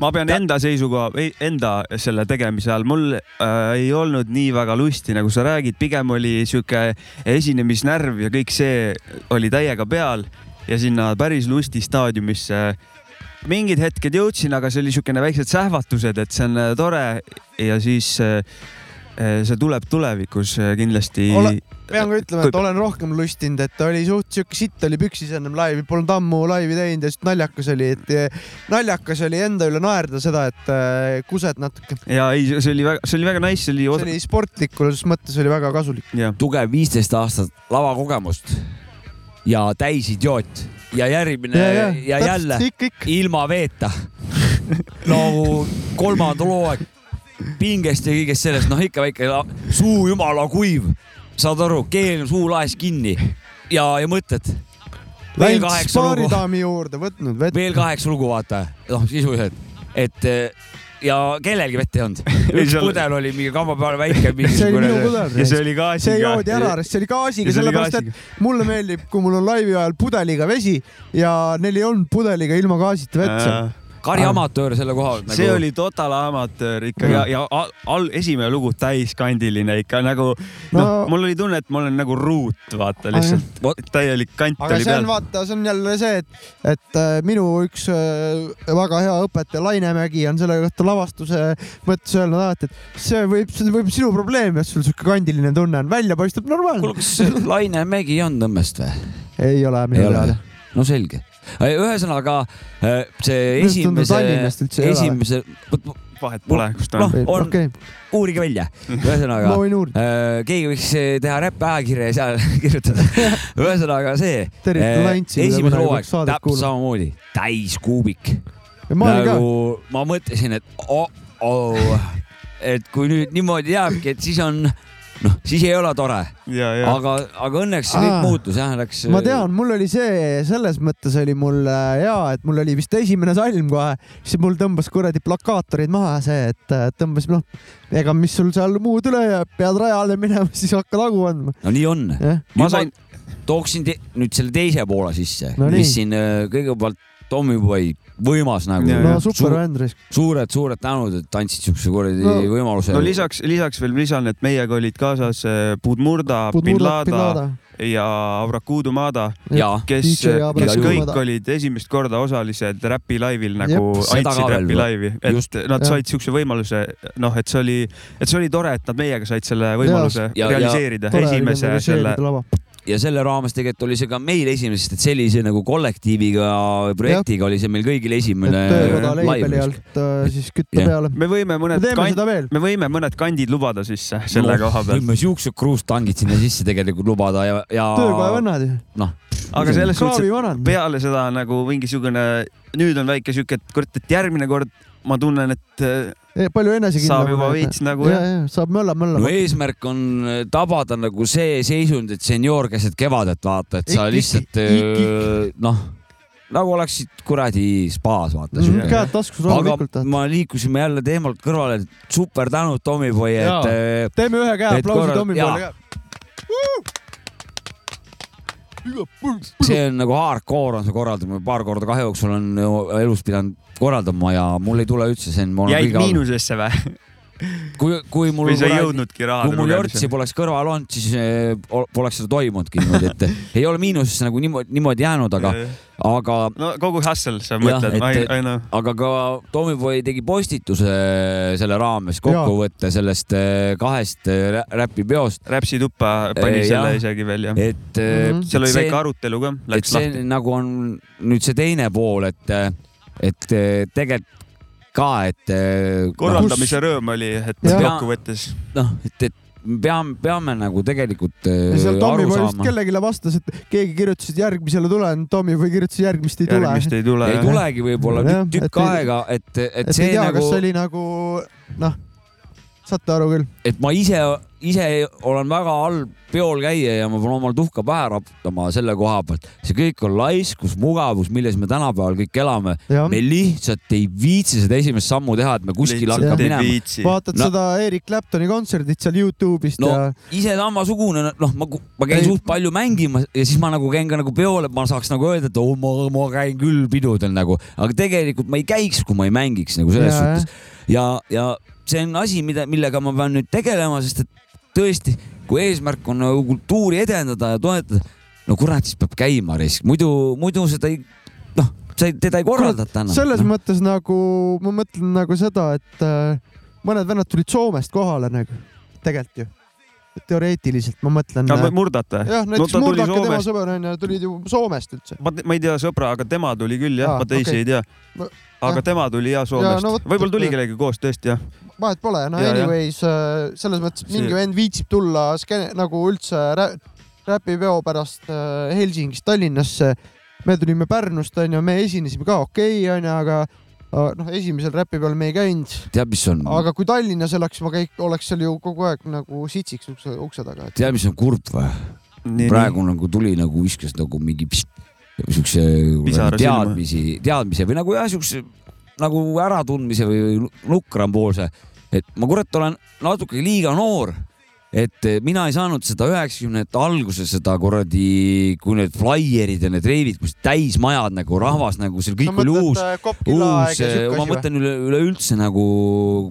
ma pean enda seisukoha , enda selle tegemise all , mul äh, ei olnud nii väga lusti , nagu sa räägid , pigem oli sihuke esinemisnärv ja kõik see oli täiega peal ja sinna päris lusti staadiumisse mingid hetked jõudsin , aga see oli niisugune väiksed sähvatused , et see on äh, tore ja siis äh, äh, see tuleb tulevikus äh, kindlasti
Ole- . pean ka ütlema , et
Kui-
olen rohkem lustinud , et ta oli suht siuke sitt oli püksis ennem laivi , polnud ammu laivi teinud ja siis naljakas oli , et eh, naljakas oli enda üle naerda seda , et eh, kused natuke .
ja ei , see oli väga , see oli väga nice , see oli,
see oli sportlikus mõttes oli väga kasulik .
jah ,
tugev viisteist aastat lavakogemust ja täis idioot ja järgmine ja, ja, ja jälle
kõik , kõik .
ilma veeta . nagu kolmanda loo aeg pingest ja kõigest sellest , noh ikka väike la- suu jumala kuiv , saad aru , keel on suu laes kinni ja , ja mõtled . veel
Läinud
kaheksa lugu ,
spaaridaami juurde , võtnud vett .
veel kaheksa lugu , vaata , noh sisuliselt , et eh, ja kellelgi vett ei olnud .
Ei,
üks
seal-
puder oli mingi kamba peal väike .
see oli minu pudel .
ja see oli ka
see joodi ära , sest see oli gaasiga , sellepärast et mulle meeldib , kui mul on laivi ajal pudeliga vesi ja neil ei olnud pudeliga ilma gaasita vett seal .
Kari amatöör Äh, selle koha pealt . nagu-
see oli total amatöör ikka
Mm.
ja , ja al- al- , esimene lugu täiskandiline ikka nagu noh no,
No- ,
mul oli tunne , et ma olen nagu ruut , vaata lihtsalt
Vot-
täielik kant
aga
oli
see
peal .
on , vaata , see on jälle see , et , et äh, minu üks äh, väga hea õpetaja Lainemägi on selle kohta lavastuse mõttes öelnud alati , et see võib , see võib sinu probleem , et sul siuke kandiline tunne on , välja paistab
kuule ,
normaalne .
kas Laine Mägi on Nõmmest või ?
ei ole minu teada .
no selge . ühesõnaga äh, see
Mulle tundub,
esimese ,
Tallinnast üldse ei ole.
esimese ,
vahet pole , kus ta on
Noh.
no. .
on-
okei ,
uurige välja ,
ma
ühesõnaga
võin uurida .
äh, keegi võiks äh, teha räppajakirja ja seal kirjutada . ühesõnaga see
tervitan
äh,
Laintsi .
esimene hooaeg täpselt samamoodi täis kuubik ,
ma olin ka
nagu ma mõtlesin , et oh-oh , et kui nüüd niimoodi jääbki , et siis on noh , siis ei ole tore ,
ja , ja
aga , aga õnneks see kõik
Aa.
muutus jah , läks .
ma tean , mul oli see , selles mõttes oli mul äh, hea , et mul oli vist esimene salm kohe , siis mul tõmbas kuradi plakaatorid maha see , et äh, tõmbas noh , ega mis sul seal muud üle jääb , pead rajale minema , siis hakkad hagu andma .
no nii on
jah ,
ma
ma
sain
sain- ,
tooksin te, nüüd selle teise poole sisse
No
no , mis
nii.
siin äh, kõigepealt Tommyboy , võimas nagu
Ja,
no
ja.
super vend raisk .
suured-suured tänud , et andsid siukse kuradi no,
No-
võimaluse .
no lisaks , lisaks veel lisan , et meiega olid kaasas eh, Budmurda , Bin Laden ja Avrakudu Mada ,
ja
kes ,
DJ
kes
Avrakudu
kõik
Mada.
olid esimest korda osalised Räpi laivil nagu
Jep.
Jep,
Seda ka
andsid
veel või?
Räpi laivi , et
Just.
Just, nad
Jah.
said siukse võimaluse , noh , et see oli , et see oli tore , et nad meiega said selle võimaluse
Ja-
ja,
ja-
realiseerida ja, esimese selle .
ja selle raames tegelikult oli see ka meil esimene , sest et sellise nagu kollektiiviga , projektiga ja. oli see meil kõigil
et äh,
esimene
töökoda
laiv
leibeli . alt äh, siis kütta
Äh, Jah.
peale .
me võime
me
mõned
teeme
kandid ,
seda veel .
me võime mõned kandid lubada sisse selle no, koha peal ,
võime siuksed kruustangid sinna sisse tegelikult lubada ja , ja . noh.
töökoja vennad ju .
aga selles suhtes ,
kraavi vanad
et . peale seda nagu mingisugune , nüüd on väike siuke , et kurat , et järgmine kord ma tunnen , et eh,
palju enesekindlam .
saab juba veits nagu
ja ,
jah ,
ja saab mölla , mölla
no . eesmärk on tabada nagu see seisund , et senior keset kevadet vaata , et sa
Ik- ik-
lihtsalt
ik-
öö, noh , nagu oleksid kuradi spaas vaata
Mhm.
siuke .
käed taskus
aga
rahulikult .
ma liikusime jälle teemalt kõrvale , et super tänud , Tommyboy ,
Jaa.
et öö,
teeme ühe käe
Et
aplausi
korra-
Tommy
jaa.
poole ka .
see on nagu hardcore on see korraldamine , paar korda kahe jooksul on ju elus pidanud korraldama ja mul ei tule üldse see , ma olen
jäid
kõige halvem .
miinusesse või ,
kui , kui mul
või sa ei jõudnudki
kui
raha
mul jortsi poleks kõrval olnud , siis öö, ol- poleks seda toimunudki niimoodi , et eh, ei ole miinusesse nagu niimoodi , niimoodi jäänud , aga , aga
no kogu hustle , sa
Jah,
mõtled ,
et-
ma ei , ei noh ,
aga ka Tommyboy tegi postituse eh, selle raames kokkuvõtte sellest eh, kahest eh, rä- räpipeost ,
Räpsi tuppa pani
Eh,
selle
jah.
isegi veel jah .
et mm
Mhm.
-hmm.
seal oli väike arutelu ka ,
et
läks
see
lahti .
nagu on nüüd see teine pool , et , et eh, tegelikult ka , et eh,
korraldamise rõõm oli , et
Jah.
kokkuvõttes
noh , et , et me peame , peame nagu tegelikult eh,
ja seal Tommy
aru
Boy vist
saama ,
kellelegi vastas , et keegi kirjutas , et järgmisele tulen , Tommy Boy kirjutas , järgmist ei tule .
järgmist ei tule
ei . tulegi võib-olla
Jah,
tükk
et ei-
tükk aega , et , et
et
see
ei tea ,
nagu
kas see , oli nagu noh , saate aru küll .
et ma ise ise olen väga halb peol käia ja ma pean omal tuhka pähe raputama selle koha pealt . see kõik on laiskus , mugavus , milles me tänapäeval kõik elame .
Jah.
me lihtsalt ei viitsi seda esimest sammu teha , et me kuskil
Lihtsalt
hakkame
ei
minema .
viitsi.
vaatad
No-
no. seda Erik Claptoni kontserdit seal Youtube'ist
no
no. ja
ise samasugune , noh , ma , ma käin
Ei.
suht palju mängimas ja siis ma nagu käin ka nagu peol , et ma saaks nagu öelda , et oo , ma , ma käin küll pidudel nagu , aga tegelikult ma ei käiks , kui ma ei mängiks nagu selles
Jaa, jah.
suhtes . ja , ja see on asi , mida , millega ma pean nüüd tegelema , sest et tõesti , kui eesmärk on nagu kultuuri edendada ja toetada , no kurat , siis peab käima risk , muidu , muidu seda ei , noh , sa ei , teda ei korraldata enam . noh.
selles no. mõttes nagu ma mõtlen nagu seda , et äh, mõned vennad tulid Soomest kohale nagu tegelikult ju , teoreetiliselt ma mõtlen .
aga murdata ?
jah , näiteks no, Murdaka , tema sõber onju , tulid ju Soomest üldse .
ma , ma ei tea sõbra , aga tema tuli küll jah
Aa,
ah, , ma teisi okay.
okei.
ei tea
No, .
aga
jah.
tema tuli ja Soomest
no
no,
vot, ,
võib-olla tuli
et-
kellegagi koos tõesti jah .
vahet pole , no
Ja, ja.
anyways , selles mõttes
See-
mingi vend viitsib tulla skeene, nagu üldse rä- räpipeo pärast äh, Helsingist Tallinnasse . me tulime Pärnust onju , me esinesime ka okei okay, onju , aga äh, noh , esimesel räpipeol me ei käinud ,
tead , mis on ,
aga kui Tallinnas elaks , ma käik- , oleks seal ju kogu aeg nagu sitsiks ukse , ukse taga , et
tead , mis on kurb või ? praegu nagu tuli nagu viskas nagu mingi pst, siukse nagu
Pisara
teadmisi , teadmise või nagu jah , siukse nagu äratundmise või nukrampoolse , et ma kurat olen natuke liiga noor , et eh, mina ei saanud seda üheksakümnendate alguse seda kuradi , kui need flaierid ja need reivid , kus täismajad nagu rahvas nagu seal kõik oli uus ,
äh, Kopila
uus eh,
aeg ja , siuke asi
ma
või ?
mõtlen üle , üleüldse nagu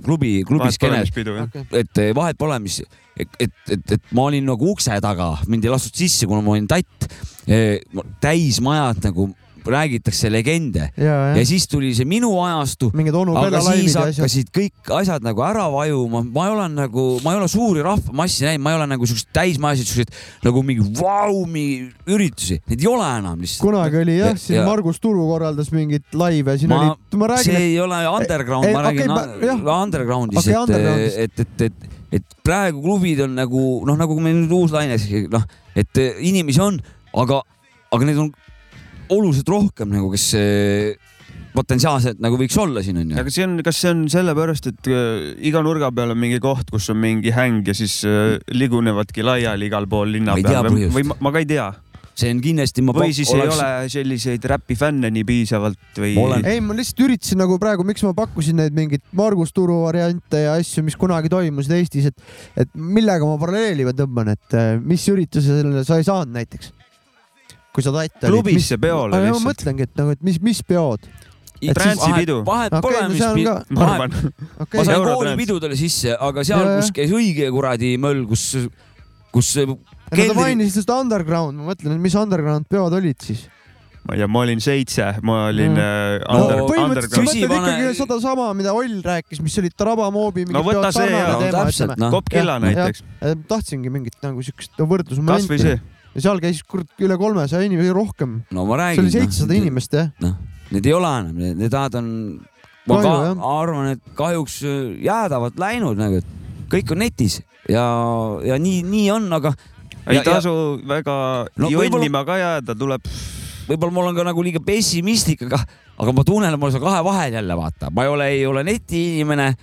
klubi , klubiskeene ,
Okay.
et eh, vahet pole , mis , et , et, et , et ma olin nagu ukse taga , mind ei lastud sisse , kuna ma olin tatt . Eh, täismajad nagu räägitakse legende
ja ,
ja
jah ,
siis tuli see minu ajastu ,
mingid onu
aga
Pella laivid
siis
ja asjad .
hakkasid kõik asjad nagu ära vajuma , ma ei ole nagu , ma ei ole suuri rahvamassi näinud , ma ei ole nagu siukseid täismajasid , siukseid nagu mingi vaumi üritusi , neid ei ole enam lihtsalt .
kunagi oli jah ,
Ja-
siin
ja-
Margus Turu korraldas mingit laive , siin
Ma-
ma, oli , ma räägin , e-
see ei ole underground ,
ei,
ma
okei,
räägin
ma- jah.
okay, undergroundis
Okei,
okay, ,
undergroundist.
et , et , et , et , et praegu klubid on nagu noh , nagu meil nüüd uus laine , noh , et eh, inimesi on , aga , aga neid on oluliselt rohkem nagu , kes eh, potentsiaalselt nagu võiks olla siin onju .
aga see on , kas see on sellepärast , et äh, iga nurga peal on mingi koht , kus on mingi häng ja siis äh, ligunevadki laiali igal pool linna
Ma ei tea
peal või,
põhjust.
või ma, ma ka ei tea .
see on kindlasti , ma
või siis ei ole selliseid räpifänne nii piisavalt või ?
Olen.
ei , ma lihtsalt üritasin nagu praegu , miks ma pakkusin neid mingeid Margus Turu variante ja asju , mis kunagi toimusid Eestis , et , et millega ma paralleeli ma tõmban , et eh, mis üritusele sa ei saanud näiteks ? kui sa tatt olid .
klubisse peole
aga ma
lihtsalt .
mõtlengi , et nagu , et mis , mis peod .
transipidu.
vahet
Okei,
pole ,
no
mis
see on
pi-
ka-
ma
vahet
arvan ,
ma
okei
saan-
okay. ,
sain
Eurotrans.
koolipidudele sisse , aga seal
Jajah. ,
kus käis õige kuradi möll , kus kus eh,
aga te
keldri ,
mainisite seda underground , ma mõtlen , et mis underground peod olid siis ?
ma ei tea , ma olin seitse , ma olin
Mm.
äh,
No
under,
põhimõtteliselt sa
underground .
küsi-
mõtled
Küsivana-
ikkagi sedasama , mida Oll rääkis , mis olid Tarabamoobi mingid
No võta see ja-
no
teema ,
täpselt
ütleme .
noh ,
Kopp Killa
jah,
näiteks ,
tahtsingi mingit nagu siukest
kasvõi
võrdlusmomenti
see .
ja seal käis kurat üle kolmesaja inimese rohkem
no ma
see
räägin . noh.
oli seitsesada inimest jah ,
Need ei ole enam , need ajad on , ma
Kahju,
ka,
jah.
arvan , et kahjuks jäädavalt läinud nagu , et kõik on netis ja , ja nii , nii on , aga
ei
Ja- ja-
tasu väga
No võib-olla-
jonnima ka jääda , tuleb
võib-olla ma olen ka nagu liiga pessimistlik , aga , aga ma tunnen , et ma olen seal kahe vahel jälle vaata , ma ei ole , ei ole netiinimene ,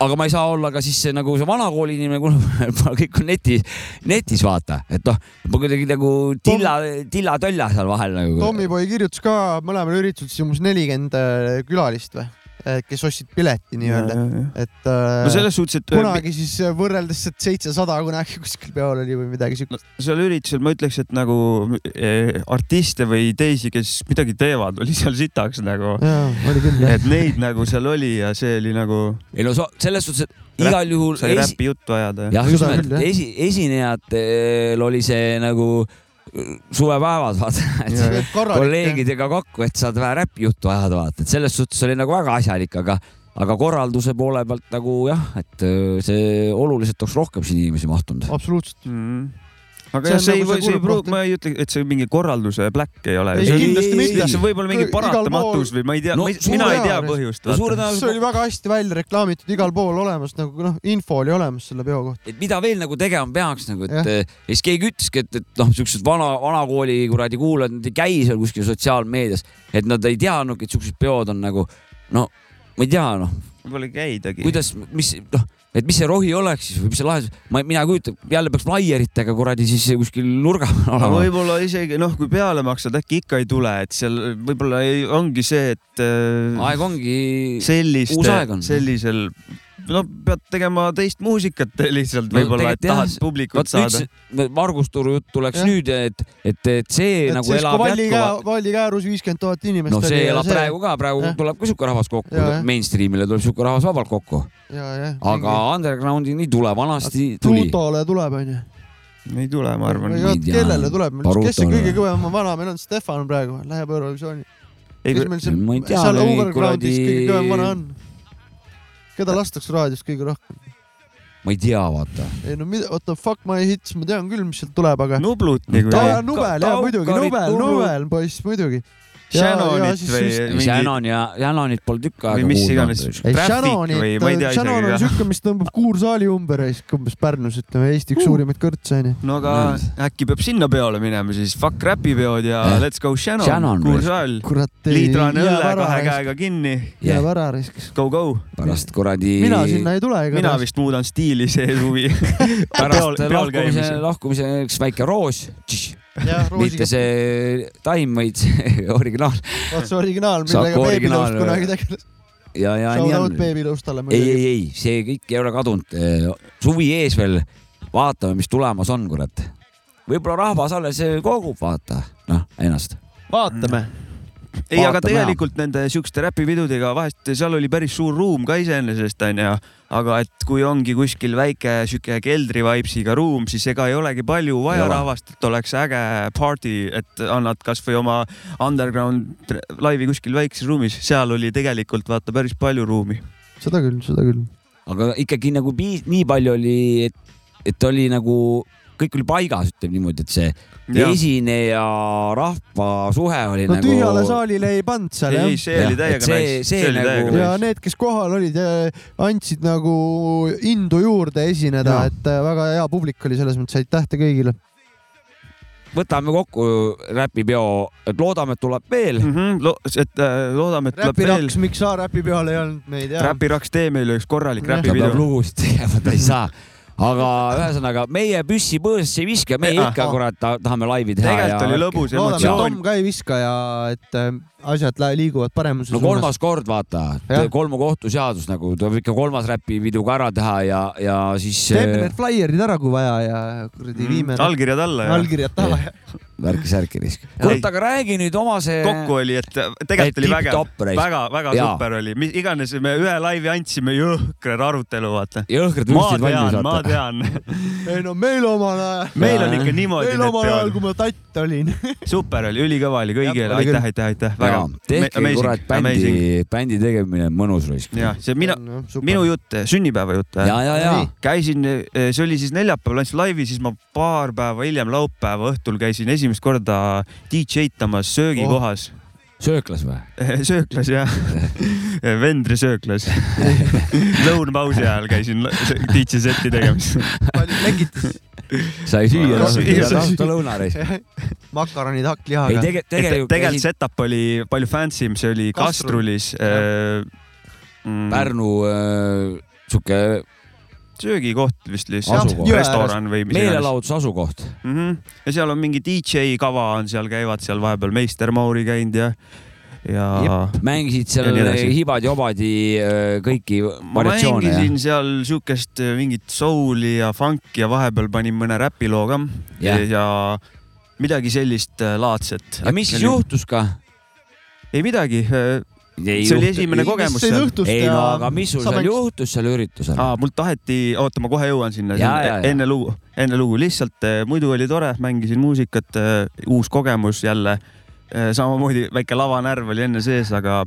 aga ma ei saa olla ka siis see, nagu see vanakooli inimene , kuna ma kõik on netis , netis vaata , et noh , ma kuidagi nagu tilla , tilla-tölla seal vahel nagu .
Tommyboy kirjutas ka mõlemal üritusel siis umbes nelikümmend äh, külalist või , kes ostsid pileti nii-öelda ,
no
et äh,
selles suhtes , et
kunagi siis äh, võrreldes et seitsesada kunagi kuskil peol oli või midagi siukest .
seal üritusel ma ütleks , et nagu eh, artiste või teisi , kes midagi teevad , oli seal sitaks nagu ,
jaa , oli küll jah .
et neid nagu seal oli ja see oli nagu ,
ei no so- selles suhtes , et igal juhul
sai
esi-
räpi juttu ajada ja
jah ,
Seda
just nimelt
küll, jah.
esi , esinejatel oli see nagu suvepäevad , vaata , et kolleegidega kokku , et saad vähe räppijuttu ajada , vaata , et selles suhtes oli nagu väga asjalik , aga , aga korralduse poole pealt nagu jah , et öö, see oluliselt oleks rohkem siin inimesi mahtunud .
absoluutselt .
mm.
See
aga jah ,
on
see ei
nagu
või ,
see
see ei
kurb
pruugi ,
koht,
ma ei ütle , et see mingi korralduse pläkk ei ole .
Ei,
kindlasti mitte.
see võib olla mingi
Igal pool-
paratamatus või ma ei tea
No
no, , mina
suure
ei tea
jaa,
põhjust .
no suure
see oli
tõenäosusega ,
väga hästi välja reklaamitud igal pool olemas nagu noh , info oli olemas selle peo kohta .
et mida veel nagu tegema peaks nagu ,
Jah.
et eh, ja siis keegi ütleski , et , et noh , siuksed vana , vanakooli kuradi kuulajad , nad ei käi seal kuskil sotsiaalmeedias , et nad ei teadnudki , et siuksed peod on nagu no ma ei tea , noh ,
võib-olla ei käidagi .
kuidas , mis , noh , et mis see rohi oleks siis või mis see lahendus , ma , mina kujutan , jälle peaks plaieritega kuradi siis kuskil nurga peal
aga
olema .
võib-olla isegi noh , kui peale maksad , äkki ikka ei tule , et seal võib-olla ei- ongi see , et äh,
aeg ongi uus
selliste
aeg on. ,
sellisel , no pead tegema teist muusikat lihtsalt
No
võib-olla , et
tegelikult jah,
tahad publikut
vot nüüd
saada .
see Margus Turu jutt tuleks
Jah.
nüüd , et , et , et see et nagu elab
valli käe
jätkuvalt ,,
valli käärus viiskümmend tuhat inimest
noh , see elab
ja
praegu ka , praegu
Jah.
tuleb ka sihuke rahvas kokku
Jaa, jah. ,
mainstream'ile tuleb sihuke rahvas vabalt kokku ,
ja , jah .
aga underground'ini ei tule , vanasti Ah, tuli .
Brutole tuleb , onju .
ei tule , ma arvan
Ei ole. . tea.
kellele tuleb , kes see
Brutole.
kõige kõvem vana meil on , Stefan praegu läheb Eurovisiooni .
ei ,
kes meil seal ,
ma ei tea,
seal
mingi
Overgroundis
kuradi-
kõige kõvem vana on ? keda lastakse raadiost kõige rohkem ?
ma ei tea , vaata .
ei no mida , oota , Fuck My Hits , ma tean küll , mis sealt tuleb , aga .
Nublut nagu
aa , Nubel , jaa
Taukarit,
muidugi , Nubel ,
Nublu.
Nubel poiss , muidugi .
Shannonit või mingi ,
Shannon ja , Shannonit pole tükk aega
või mis iganes .
kuulnud .
ei ,
Traffic või ma ei
Shannonit ,
tea
Shannon on
isegi .
siuke , mis tõmbab kuursaali umbe raisk umbes Pärnus , ütleme Eesti üks suurimaid kõrtse onju .
Uh. no aga äkki peab sinna peole minema siis , Fuck Räpi peod ja
Jah.
Let's Go Shannon
Eh? Shannon ,
Kursal ,
Mm. kurat .
liitrane õlle kahe . käega kinni ,
jääb ära raisk .
go go .
pärast kuradi .
mina sinna ei tule ega .
mina . vist muudan stiili see suvi .
pärast
peol
lahkumise
käimise .,
lahkumise üks väike roos ,
jah ,
mitte
Roosiga .
see taim , vaid see originaal
vot see originaal ,
Saku
millega Babylost
originaal-
kunagi tegeles .
ja , ja
Shout
nii
out
on .
Babylostale
ei ,
muidugi .
ei , ei , see kõik ei ole kadunud . suvi ees veel , vaatame , mis tulemas on , kurat . võib-olla rahvas alles kogub , vaata , noh , ennast .
vaatame .
ei , aga
Vaatame
tegelikult nende siukeste räpipidudega vahest seal oli päris suur ruum ka iseenesest onju , aga et kui ongi kuskil väike siuke keldrivaipsiga ruum , siis ega ei olegi palju vaja
Ei ole.
rahvast , et oleks äge party , et annad kasvõi oma underground laivi kuskil väikses ruumis , seal oli tegelikult vaata päris palju ruumi .
seda küll , seda küll .
aga ikkagi nagu piis- , nii palju oli , et , et oli nagu , kõik oli paigas , ütleme niimoodi , et see esineja rahva suhe oli
no
nagu .
tühjale saalile ei pannud seal jah
ei , see oli
Jah, et
täiega
see-
nice ,
see
see oli
nagu-
täiega
ja
nice .
need , kes kohal olid , andsid nagu indu juurde esineda ,
Jaa.
et äh, väga hea publik oli selles mõttes , aitäh te kõigile .
võtame kokku räpipeo , et loodame , et tuleb veel .
Mm -hmm, lo et äh, loodame , et tuleb
Räpi
veel
raks , miks sa räpi peal ei olnud , me ei tea .
räpiraks , tee meile üks korralik
Jah.
ta peab
räpipidu .
lugusid tegema , ta ei saa . aga ühesõnaga meie püssi põõsasse ei viska , meie
Ei,
ikka
ahah.
kurat ta- tahame laivi teha .
tegelikult oli lõbus
loodame , et
emotsioon
Tom . ka ei viska ja et äh, asjad lä- liiguvad paremuse
no kolmas kord , vaata
Jah. ,
kolmu kohtuseadus nagu tuleb ikka kolmas räpipidu ka ära teha ja , ja siis eh,
teeme need flaierid ära , kui vaja ja kuradi viime need
Mm. allkirjad alla ja
allkirjad taha ja
värki-särki risk . kurat , aga räägi nüüd oma see .
kokku oli , et tegelikult oli vägev ,
tipp-topp raisk .
väga-väga
Jaa.
super oli , mis iganes me ühe laivi andsime , jõhker arutelu , vaata .
jõhkrad
ma
vürstid valmis
tean , ma
vaata .
tean ,
ei no meil omal ajal ,
meil
Jaa.
on ikka niimoodi
meil
need
omal ajal ,
peod .
kui ma tatt olin .
super oli , ülikõva oli kõigile ,
Jah, oli küll.
aitäh , aitäh , aitäh , väga
jaa , tehke
amazing,
kurat bändi
amazing. ,
bändi tegemine on mõnus raisk .
ja see mina ,, minu jutt , sünnipäeva jutt
ja ,
või ?
ja , ja
Nii.
käisin , see oli siis neljapäeval andsin laivi , siis ma paar päeva hiljem , laupäeva õhtul käisin esimest korda DJ tamas söögikohas oh. ,
sööklas või ?
sööklas jah , Vendri sööklas . lõunapausi ajal käisin DJ seti tegemas .
lekitas
sai süüa noh,
Kas- ,
sai-
tahta lõunareis .
makaronid
ei
hakklihaga .
tegelikult ,
tegelikult
tegelikult
tegel setup oli palju fancy im , see oli
Kastrul.
kastrulis äh, . mm.
Pärnu äh, sihuke
söögikoht vist lihtsalt
Asukoht. ,
Jõe
restoran või mis iganes
meelelahutuse asukoht .
Mm-hmm.
mm . -hmm. ja seal on mingi DJ kava on seal , käivad seal vahepeal meister Mauri käinud ja , ja .
mängisid
Ja
seal
nii edasi.
hibad-jobadi äh, kõiki
ma
variatsioone ja ,
mängisin seal siukest äh, mingit souli ja funk'i ja vahepeal panin mõne räpiloo ka
Jah.
ja midagi sellist äh, laadset .
ja mis siis ? juhtus ka ?
ei midagi , see oli esimene kogemus
sai
seal .
õhtust
ei
ja
no aga mis sul
sa
seal
mängis-
juhtus seal üritusel ?
aa , mul taheti , oota , ma kohe jõuan sinna
Jaa, jaa, , jaa.
enne lugu , enne lugu , lihtsalt eh, muidu oli tore , mängisin muusikat , uus kogemus jälle . samamoodi väike lavanärv oli enne sees , aga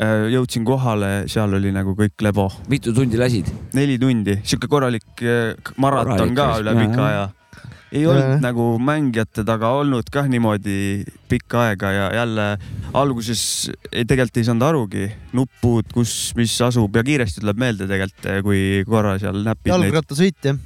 eh, jõudsin kohale , seal oli nagu kõik lebo ,
mitu tundi lasid ?
neli tundi , sihuke korralik eh, k- maraton
Korralik
ka
vist,
üle
jaa,
pika
jaa.
aja . ei
Jaa,
olnud
jah.
nagu mängijate taga olnud kah niimoodi pikka aega ja jälle alguses ei- tegelikult ei saanud arugi , nupud , kus , mis asub ja kiiresti tuleb meelde tegelikult , kui korra eh, seal näpid neid
jalgrattasõit jah ?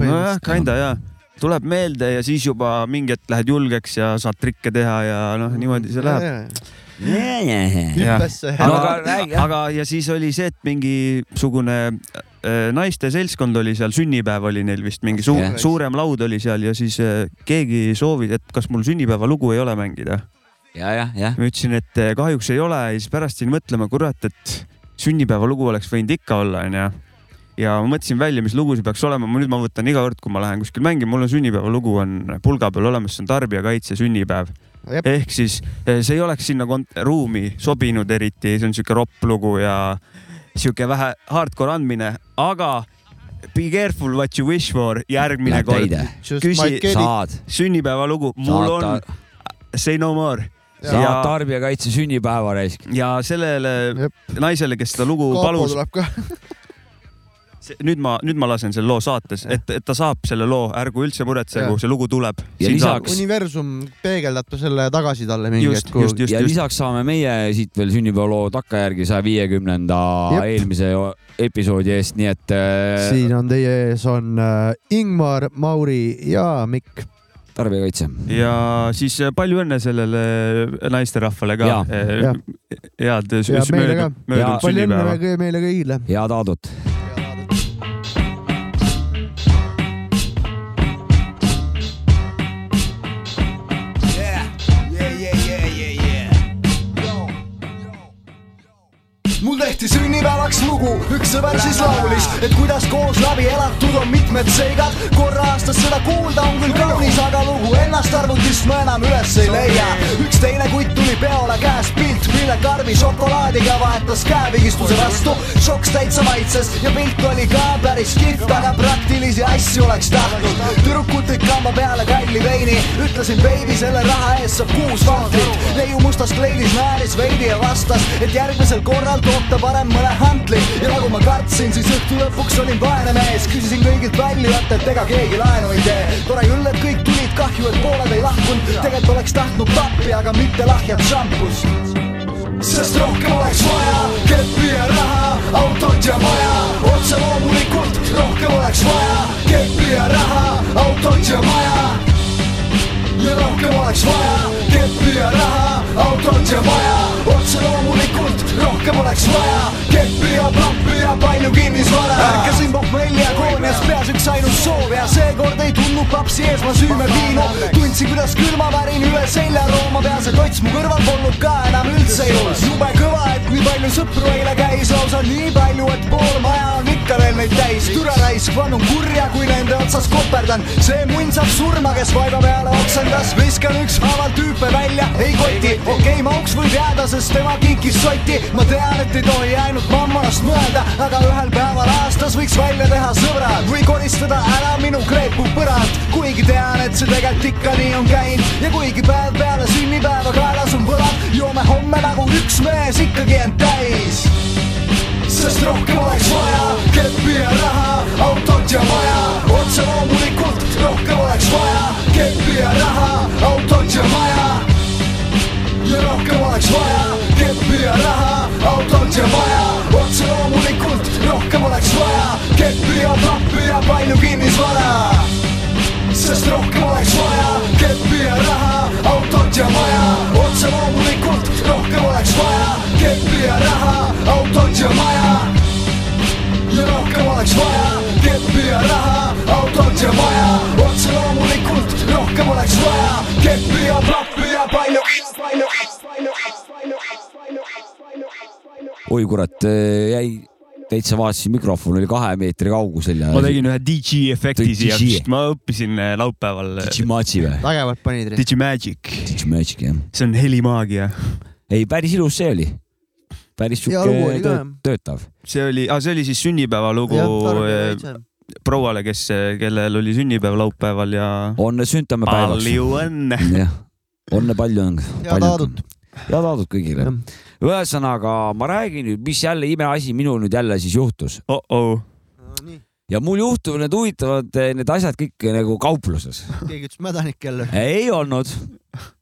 nojah , kinda jaa . tuleb meelde ja siis juba mingi hetk lähed julgeks ja saad trikke teha ja noh , niimoodi see läheb . Jah.
hüppesse .
no, .
aga
aga
räägi- ,
aga ja siis oli see , et mingisugune äh, naiste seltskond oli seal , sünnipäev oli neil vist mingi suur
Jah. ,
suurem laud oli seal ja siis äh, keegi soovis , et kas mul sünnipäevalugu ei ole mängida .
ja , jah , jah .
ma ütlesin , et äh, kahjuks ei ole ja siis pärast jäin mõtlema , kurat , et sünnipäevalugu oleks võinud ikka olla , onju . ja ma mõtlesin välja , mis lugu see peaks olema , nüüd ma võtan iga kord , kui ma lähen kuskil mängima , mul on sünnipäevalugu on pulga peal olemas , see on tarbijakaitse sünnipäev .
Jep.
ehk siis eh, see ei oleks sinna kont- ruumi sobinud eriti , see on siuke ropp lugu ja siuke vähe hardcore andmine , aga be careful what you wish for järgmine
Läheb
kord .
täide .
küsi-
saad ,
sünnipäevalugu , mul
saad
on
ta-
Say no more
saad
Ja-
tarbijakaitse sünnipäeva raisk .
ja sellele
Jep.
naisele , kes seda lugu
Kaapo
palus ,
tuleb ka .
nüüd ma , nüüd ma lasen selle loo saates , et , et ta saab selle loo , ärgu üldse muretsegu ,
Jah.
see lugu tuleb .
Ja lisaks-
universum peegeldab selle tagasi talle mingi
just ,
hetk , kui
just , just ,
ja
just ,
lisaks saame meie siit veel sünnipäevaloo takkajärgi saja viiekümnenda
Jep.
eelmise o- episoodi eest , nii et äh,
siin on teie ees on äh, Ingmar , Mauri ja Mikk .
tarbijakaitse .
ja siis äh, palju õnne sellele naisterahvale ka Äh,
Ja. .
Ja.
head
Ja meile ka.
möödunud ,
Ja
möödunud
palju õnne
sünnipäeva .
väga- meile kõigile .
head Aadut .
mul tehti sünnipäevaks lugu , üks sõber siis laulis , et kuidas koos läbi elatud on mitmed seigad . korra aastas seda kuulda on küll kaunis , aga lugu ennast arvutist ma enam üles ei leia . üks teine kutt tuli peole käes pilt , mille karbi šokolaadiga vahetas käepigistuse vastu . šoks täitsa maitses ja pilt oli ka päris kihvt , aga praktilisi asju oleks tahtnud . tüdrukud tõid kamba peale kalli veini , ütlesin baby , selle raha eest saab kuus vahtrit . neiu mustas kleidis naeris veidi ja vastas , et järgmisel korral toob ta parem mõne hantli ja nagu ma kartsin , siis õhtu lõpuks olin vaene mees , küsisin kõigilt välja , et et ega keegi laenu ei tee . tore küll , et kõik tulid , kahju , et pooled ei lahkunud , tegelikult oleks tahtnud pappi , aga mitte lahjat šampust . sest rohkem oleks vaja keppi ja raha , autot ja maja , otse loomulikult rohkem oleks vaja keppi ja raha , autot ja maja ja rohkem oleks vaja keppi ja raha , autot ja maja , otse loomulikult rohkem oleks vaja keppi ja pappi ja palju kinnisvara . ärkasin pohmelli agoonias , peas üks ainus soov ja seekord ei tundnud papsi ees ma süüme viinu . tundsin , kuidas külmavärin üle selja rooma peas ja tots mu kõrval polnud ka enam üldse juures . jube kõva , et nii palju sõpru eile käis , lausa nii palju , et pool maja on ikka veel neid täis . türa raisk , vannun kurja , kui nende otsas koperdan , see munn saab surma , kes vaiba peale oksendas , viskan ükshaaval tüüpe välja , ei koti , okei okay, , mauks võib jääda , sest tema kinkis sotti , ma tean , et ei tohi ainult mammonast mõelda , aga ühel päeval aastas võiks välja teha sõbrad või koristada ära minu kreepu põrand , kuigi tean , et see tegelikult ikka nii on käinud ja kuigi päev peale sünnipäeva kaelas on võlad , joome homme nagu üks mees ikkagi end täis sest rohkem oleks vaja keppi ja raha , autot ja maja , otse loomulikult rohkem oleks vaja keppi ja raha , autot ja maja . ja rohkem oleks vaja keppi ja raha , autot ja maja , otse loomulikult rohkem oleks vaja keppi ja pappi ja palju kinnisvara sest rohkem oleks vaja keppi ja raha , autot ja maja , otse loomulikult rohkem oleks vaja keppi ja raha , autot ja maja . ja rohkem oleks vaja keppi ja raha , autot ja maja , otse loomulikult rohkem oleks vaja keppi ja pappi ja palju , palju , palju , palju , palju , palju , palju .
oi kurat , jäi täitsa vaatasin , mikrofon oli kahe meetri kaugusel ja .
ma tegin ühe DJ efekti
DJ.
siia , sest ma õppisin eh, laupäeval eh,
Digimatsi või ?
vägevad panid .
Digimagic ,
Digimatsi jah .
see on helimaagia .
ei , päris ilus see oli . päris
Ja lugu oli
sihuke
ka.
töö- töötav .
see oli , see oli siis sünnipäevalugu eh, prouale , kes , kellel oli sünnipäev laupäeval ja
on süntamme päevaks .
palju õnne .
jah , onne palju on .
Head Aadut. .
head Aadut kõigile . ühesõnaga , ma räägin nüüd , mis jälle imeasi minul nüüd jälle siis juhtus
oh-oh ,
ja mul juhtuvad need huvitavad eh, need asjad kõik nagu kaupluses .
keegi ütles mädanik jälle .
ei olnud ,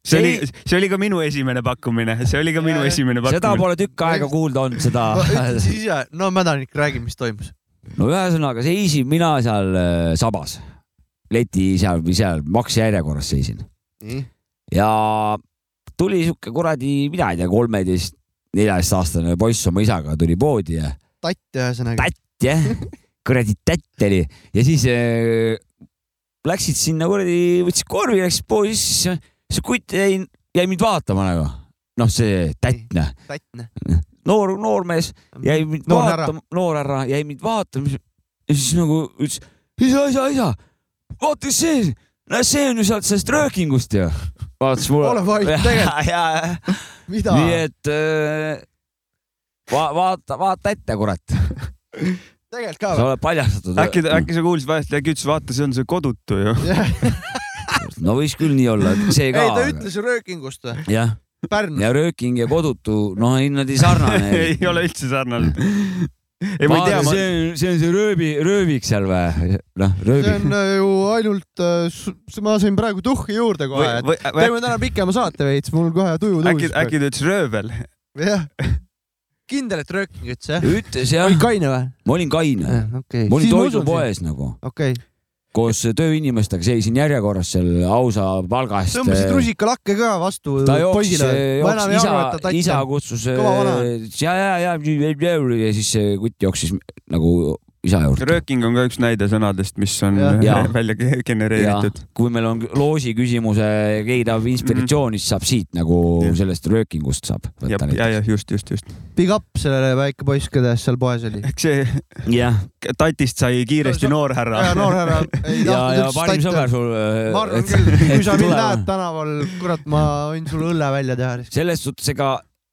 see oli
Ei. ,
see oli ka minu esimene pakkumine , see oli ka minu
Jajah.
esimene
seda
pakkumine .
pole tükk aega kuulda olnud , seda
no ütle siis ise , no mädanik , räägi , mis toimus .
no ühesõnaga seisin mina seal äh, sabas leti seal või seal maksejärjekorras seisin
nii ,
ja tuli sihuke kuradi , mina ei tea , kolmeteist , neljateistaastane poiss oma isaga tuli poodi ja
tatt ühesõnaga .
tätt jah , kuradi tätt oli ja siis äh, läksid sinna kuradi , võtsid korvi , läksid poodi , siis see kutt jäi , jäi mind vaatama nagu . noh , see tätt noh ,
tattne .
noor , noormees jäi mind
Noor
noor
härra.
vaatama , noor härra jäi mind vaatama ja siis nagu ütles , isa , isa , isa , vaata kes see , näe see on ju sealt sellest röökingust ju . vaatas mulle .
Ole vait, tegelikult.
tegelikult .
mida ?
nii et äh, va, vaata , vaata ette , kurat ,
tegelikult ka
sa oled paljastatud .
äkki , äkki sa kuulsid valesti , äkki ütles , vaata , see on see kodutu ju .
või ?
no võis küll nii olla , see
ei ,
ka .
ta ütles ju röökingust või ?
jah ,
Pärnu .
ja rööking ja kodutu , noh , ei nad ei sarnane .
ei ole üldse sarnased . ei , ma ei tea , ma
see , on , see on see rööbi , röövik seal või ? noh ,
see
röövik
on . äh, ju ainult , ma sain praegu tuhhi juurde
või ,
kohe , et
või
teeme täna pikema saate veits , mul kohe tuju
äkki ,
tõusis .
äkki ta ütles röövel .
jah , kindel , et rööking ütles jah ?
ütles jah
oli , kaine või ?
ma olin kaine ,
okei
ma olin toidupoes nagu
okei ,
koos tööinimestega seisin järjekorras seal ausa palga eest .
tõmbasid rusikalakke ka vastu
äh, ta jooksis ,
poisile . ma enam ei
isa
arva , et ta ,
isa
tatt on .
kutsus
Kõva vana.
äh, ja , ja , ja ja siis see kutt jooksis nagu isa juurde .
rööking on ka üks näide sõnadest , mis on
Jah.
välja ge- genereeritud .
kui meil on loosi küsimuse , keegi tahab
Mhm.
inspiratsiooni , siis saab siit nagu
Jah.
sellest röökingust saab
ja ,
võtta
ja ,
näiteks .
jah , Mhm. just , just , just .
Big up sellele väike poiss , keda seal poes oli .
eks see
jah ,
tatist sai kiiresti
No, see-
noor härra
ja . noor härra ei
ja , ja
tahtnud
parim
üldse
äh,
tatta . ma arvan küll ,
sõber sul .
kui sa mind näed tänaval , kurat , ma võin sulle õlle välja teha ,
selles suhtes , ega ,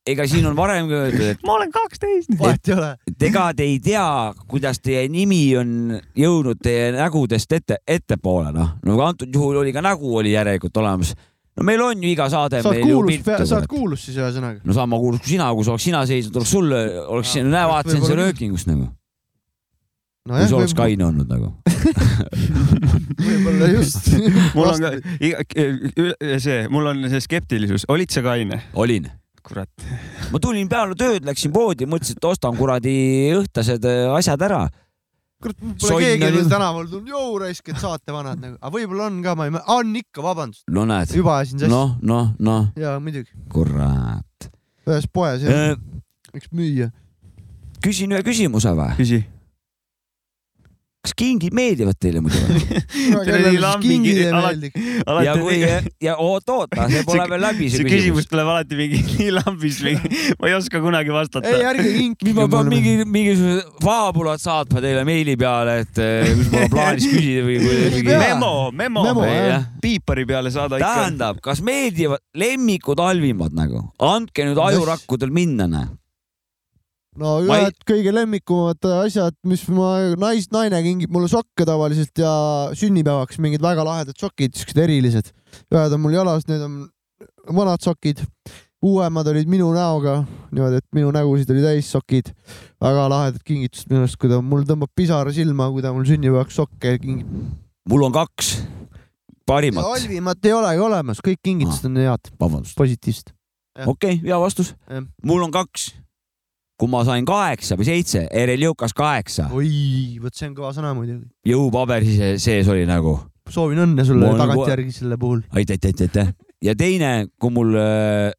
ega siin on varem ka öeldud , et
ma olen kaksteist .
vahet ei ole .
et ega te ei tea , kuidas teie nimi on jõudnud teie nägudest ette , ettepoole , noh . no aga antud juhul oli ka nägu oli järelikult olemas . no meil on ju iga saade .
sa oled kuulus , sa oled kuulus siis ühesõnaga .
no sama kuulus kui sina , kui sa oleks sina seisnud , oleks sul , oleks , näe , vaata , see on see
Võib-olla küll.
röökingus nagu . kui
nojah
sa oleks , kaine olnud nagu .
võib-olla just .
mul on ka , e- see , mul on see skeptilisus , olid sa kaine ?
olin .
kurat .
ma tulin peale tööd , läksin poodi , mõtlesin , et ostan kuradi õhtased äh, asjad ära .
kurat ,
Sonn
pole keegi
oli-
veel tänaval tulnud , joo raisk , et saate vanad nagu , aga võib-olla on ka , ma ei mäleta , on ikka , vabandust ,
no näed ,
juba ajasin sassi no. .
noh , noh , noh ,
jaa , muidugi ,
kurat .
ühes poes jah , üks müüja .
küsin ühe küsimuse või ?
küsi .
kas kingid meeldivad teile muidu või ? ja kui
alati ,
ja oot , oota , see pole
See-
veel läbi
see küsimus . tuleb alati mingi nii lambis , ma ei oska kunagi vastata
ei , ärge
mis
kinkige
ma pean . mingi , mingisugused faabulad saatma teile meili peale , et eh, mis mul on plaanis küsida või kui
Ei
mingi
pea. .
memo , memo,
Memo,
memo ,
jah.
piipari peale saada ikka .
tähendab , kas meeldivad lemmikud halvimad nagu , andke nüüd ajurakkudel minna , näe .
no
Ma ei-
ühed kõige lemmikumad asjad , mis ma , nais , naine kingib mulle sokke tavaliselt ja sünnipäevaks mingid väga lahedad sokid , siuksed erilised . ühed on mul jalas , need on vanad sokid , uuemad olid minu näoga , niimoodi , et minu nägusid oli täis sokid . väga lahedad kingitused minu arust , kui ta mul tõmbab pisara silma , kui ta mul sünnipäevaks sokke kingib .
mul on kaks parimat ,
halvimat ei olegi olemas , kõik kingitused on head ,
vabandust ,
positiivsed .
okei okay, , hea vastus
Jah. .
mul on kaks , kui ma sain kaheksa või seitse , Erel Jõukas kaheksa ,
oi , vot see on kõva sõna muidugi .
jõupaberi se- sees oli nagu
soovin õnne sulle
Ma olen
tagantjärgi selle puhul .
aitäh , aitäh , aitäh , aitäh . ja teine , kui mul äh,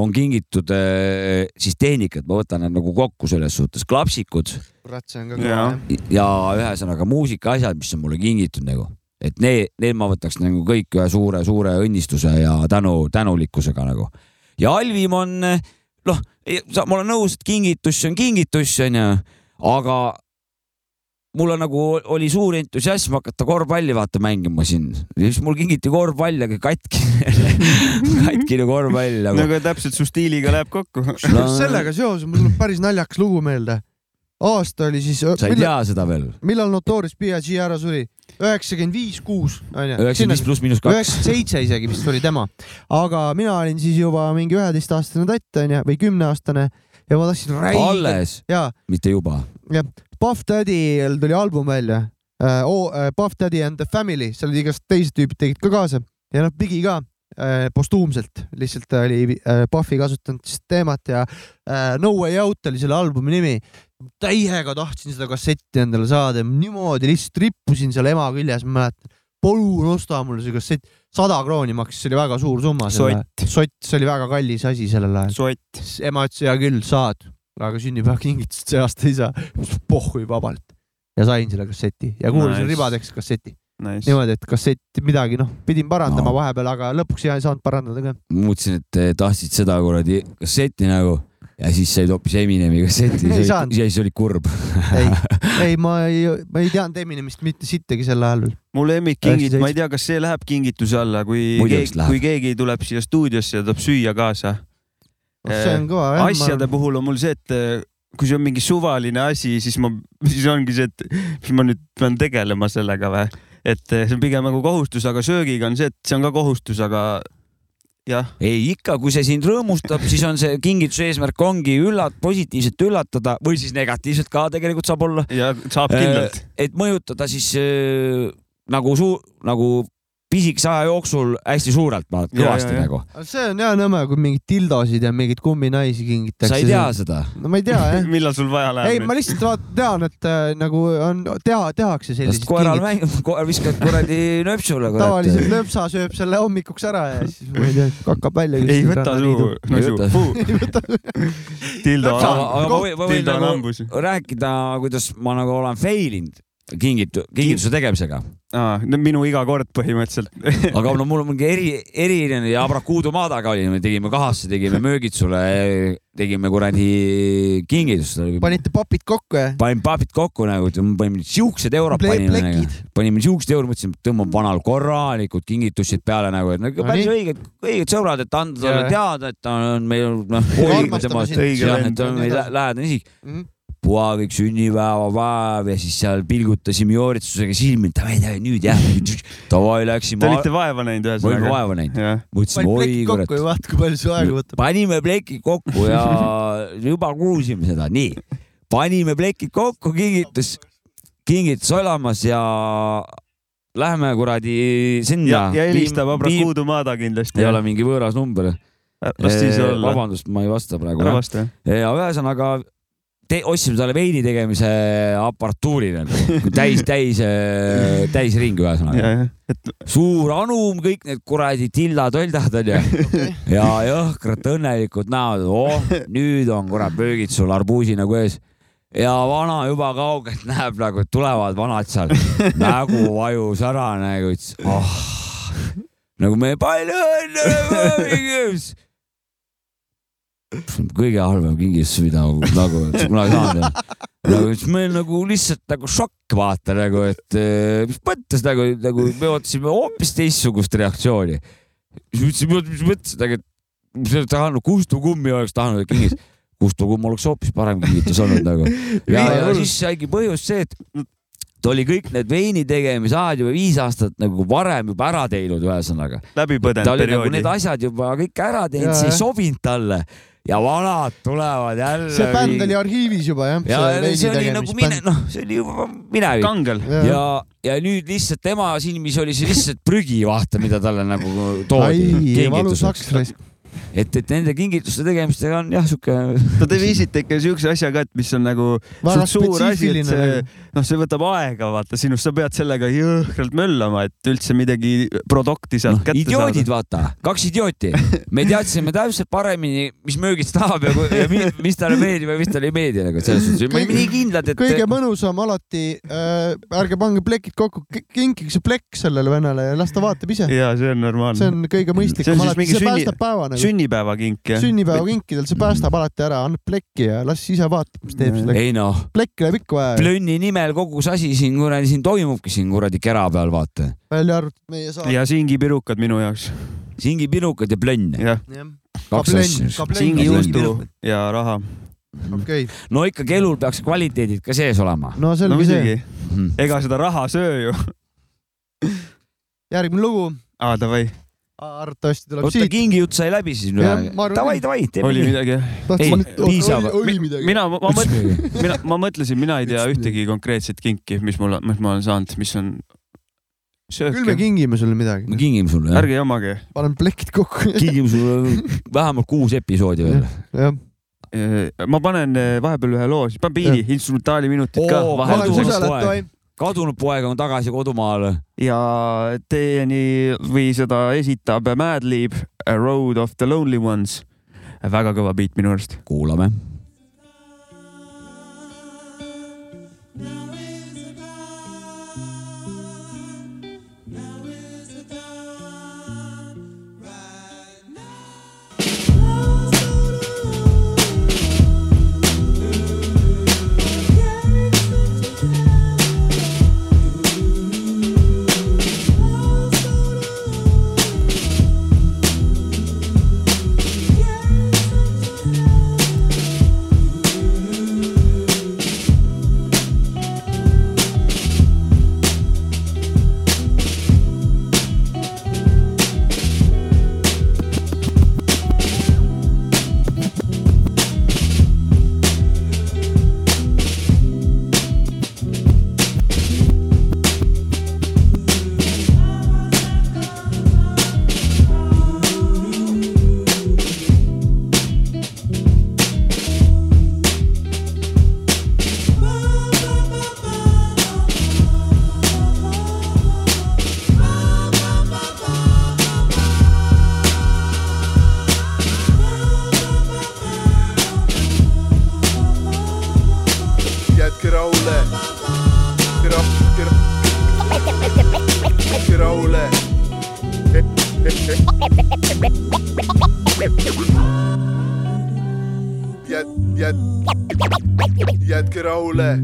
on kingitud äh, siis tehnikat , ma võtan need nagu kokku selles suhtes , klapsikud
kurat , see on ka
Jaa.
kõva jah .
ja ühesõnaga muusikaasjad , mis on mulle kingitud nagu , et need , need ma võtaks nagu kõik ühe suure-suure õnnistuse ja tänu , tänulikkusega nagu . ja halvim on , noh , ma olen nõus , et kingitus on kingitus , onju , aga mul on nagu , oli suur entusiasm hakata korvpalli vaata mängima siin ja siis mul kingiti korvpall , aga katkine , katkine korvpall nagu .
nagu täpselt su stiiliga läheb kokku .
No-
just sellega seoses mul tuleb päris naljakas lugu meelde . aasta oli siis ,
sa ei
millal,
tea seda veel ?
millal Notorious B.I.G ära suri ? üheksakümmend viis , kuus , onju .
üheksakümmend viis
üheksakümmend
pluss miinus kaks .
seitse isegi vist oli tema . aga mina olin siis juba mingi üheteistaastane tatt onju või kümneaastane ja ma tahtsin räigelt
alles ,
ja
mitte juba .
Puff Daddy'l tuli album välja uh, . Oh, uh, Puff Daddy and the Family , seal olid igast teised tüübid tegid ka kaasa ja nad pidi ka uh, postuumselt , lihtsalt ta oli uh, Puffi kasutanud siis teemat ja uh, No Way Out oli selle albumi nimi . täiega tahtsin seda kassetti endale saada ja niimoodi lihtsalt rippusin seal ema küljes , ma mäletan . palun osta mulle see kassett , sada krooni maksis , see oli väga suur summa .
Sott.
sott , see oli väga kallis asi sellel ajal .
sott .
siis ema ütles , hea küll , saad , aga sünnipäevakingitust see aasta ei saa . pohhui vabalt ja sain selle kasseti ja kuulasin
Nice.
nice. ribadeks kasseti .
Nice .
niimoodi , et kassett midagi , noh , pidin parandama
No.
no. vahepeal , aga lõpuks jah ei saanud parandada ka .
mõtlesin , et eh, tahtsid seda kuradi kasseti nagu ja siis said hoopis Eminemi kasseti
Ei
ja
saanud.
siis oli kurb .
ei , ei , ma ei , ma ei teadnud Eminemist mitte sittagi sel ajal veel .
mu lemmikkingitus ,
Üheksateist-
ma ei tea , kas see läheb kingituse alla , kui
Muidu vist
keegi ,
läheb.
kui keegi tuleb siia stuudiosse ja toob süüa kaasa .
Oh, see on kõva jah .
asjade puhul on mul see , et eh, kui see on mingi suvaline asi , siis ma , siis ongi see , et mis ma nüüd pean tegelema sellega või , et eh, see on pigem nagu kohustus , aga söögiga on see , et see on ka kohustus , aga jah ,
ei ikka , kui see sind rõõmustab , siis on see kingituse eesmärk ongi üllat- , positiivselt üllatada või siis negatiivselt ka tegelikult saab olla .
ja saab kindlalt .
et mõjutada siis eh, nagu suur , nagu pisikese aja jooksul hästi suurelt , vaata ,
Ja, ja,
kõvasti
ja.
nagu .
see on hea nõme , kui mingeid tildosid ja mingeid kumminaisi kingitakse .
sa ei tea seda ?
no ma ei tea jah .
millal sul vaja
ei ,
läheb
ma
nüüd ?
lihtsalt vaat- tean , et äh, nagu on , teha , tehakse
sest
selliseid
koeral
kingitusi .
mängib , koer viskab kuradi nööpsule . äh,
tavaliselt lööpsa sööb selle hommikuks ära ja siis ma ei tea , hakkab välja .
ei võta suu , no
Ei võta.
suu , tildo
Lõpsa-
on
aga ma
hambus
võin , ma
tildo
võin
on
nagu
hambus .
rääkida , kuidas ma nagu olen fail inud kingitu- , kingituse tegemisega ,
minu iga kord põhimõtteliselt .
aga no mul on mingi eri , eriline ja Abrakuudu maadaga oli , me tegime kahasse , tegime möögitsule , tegime kuradi kingitust .
panite papid kokku ja ?
panin papid kokku nagu , panime siuksed eurod
Ple-
panime nagu
plekid. ,
panime siuksed eurod , mõtlesin , et tõmban vanal korralikud kingitused peale nagu , et nagu
No
päris
nii.
õiged , õiged sõbrad , et anda talle
Jajah.
teada , et ta on meil noh ,
Armastame sind.
Õige
jah ,
vend.
et ta on meil lä- lähedane isik .
Mhm.
pua kõik sünnipäevapäev ja siis seal pilgutasime jooritusega silmi , et davai , davai nüüd jah , davai
Te
läksime ,
olite vaeva näinud
olime
ühesõnaga .
vaeva näinud ,
jah ,
mõtlesime
panid
oi
plekid kokku ja
kurat ,
vaata , kui palju see aega võtab .
panime plekid kokku ja juba kuulsime seda , nii , panime plekid kokku , kingitus , kingitus olemas ja läheme kuradi
ja
sinna .,
ja helistab Abrakuudu Maada kindlasti .
ei ole mingi võõras number .
las siis olla .
vabandust , ma ei vasta praegu
ära . vasta .
ja ühesõnaga te, ostsime talle veini tegemise aparatuuri nagu täis , täis , täisring ühesõnaga .
et
suur anum , kõik need kuradi tildad-öldad onju ja jõhkrad õnnelikud näod , oh nüüd on kurat pöögid sul arbuusi nagu ees ja vana juba kaugelt näeb nagu , et tulevad vanad seal , nägu vajus ära nagu , ütles ah , nagu me palju õnne . kõige halvem kingitus , mida nagu üldse kunagi saanud olen . nagu siis meil nagu lihtsalt nagu šokk vaata nagu , et eh, mis mõttes nagu , nagu me ootasime hoopis teistsugust reaktsiooni . siis mõtlesime , oot mis mõttes , nagu et see oleks tahtnud Kustu kummi oleks tahtnud kingis . Kustu kumm oleks hoopis parem kingitus olnud nagu . ja , ja
Viis-
siis saigi põhjus see , et ta oli kõik need veini tegemisajad juba viis aastat nagu varem juba ära teinud , ühesõnaga . ta
läbipõdenud
oli nagu need
perioodi .
asjad juba kõik ära teinud ,
Jaa,
see ei
jah.
sobinud talle ja vanad tulevad jälle .
see bänd oli arhiivis juba jah .
ja see oli nagu mine , noh , see oli juba minevik .
kangel .
ja
ja , ja nüüd lihtsalt tema silmis oli see lihtsalt prügi , vaata , mida talle nagu toodi
ai , valus
kingituseks
laks . raisk .
et , et nende kingituste tegemistega on jah , sihuke
no te viisite ikka siukse asja ka , et mis on nagu
väga
suht suur asi , et
spetsiifiline nagu.
see , noh , see võtab aega , vaata sinust , sa pead sellega jõhkralt möllama , et üldse midagi produkti sealt
noh ,
no, kätte saada .
idioodid , vaata , kaks idiooti . me teadsime täpselt paremini , mis möögist tahab ja, kui- ja mi, mis talle meeldib ja mis talle ei meeldi nagu selles suhtes . me olime nii kindlad , et
kõige mõnusam alati äh, , ärge pange plekid kokku , kinkige see plekk sellele vennale ja las ta vaatab ise .
ja see on
see
normaalne .
on kõige
See on
mõistlikum
siis
alati ,
mingi
see
sünni-
päästab päeva nagu .
sünnipäevakink jah ?
sünnipäevakinkidel , see päästab alati ära , annab plekki ja las ise vaatab , mis teeb sellega .
ei noh ,
plekki läheb ikka vaja ,
plönni nimel kogu see asi siin kuradi siin toimubki siin kuradi kera peal , vaata .
välja arvatud meie saal .
ja singipirukad minu jaoks ,
singipinukad ja plönn ,
jah .
kaks asja .
singijuustu ja raha .
okei ,
no ikkagi elul peaks kvaliteedid ka sees olema . Mhm.
no
no
selge see .
muidugi , ega seda raha söö ju .
järgmine lugu ,
aa , davai ,
arvatavasti tuleb
oota ,
siit .
kingijutt sai läbi siis
Jah,
või
ma ? arvan,
davai ,
et-
davai , teeme
oli
nii .
midagi jah ?
ei, piisab.
oli midagi .
mina , ma mõtlen , mina , ma mõtlesin , mina ei tea ühtegi konkreetset kinki , mis mul , mis ma olen saanud , mis on .
küll me
sööke ,
kingime sulle midagi
me , kingime sulle , jah .
ärge jamage .
paneme plekid kokku .
kingime sulle vähemalt kuus episoodi veel .
jah ,
ma panen eh, vahepeal ühe loo , siis panen biidi , instrumentaali minutid ka
Oo,
pane
vahelduseks
vahelduseks .
kuuselet
kohe.
toim ,
kadunud poeg on tagasi kodumaal .
ja teieni või seda esitab Mad Lib A Road of the Lonely Ones . väga kõva beat minu arust .
kuulame .
Get all that. Get up, get up. Get all that. Yet, yet, yet, get all that.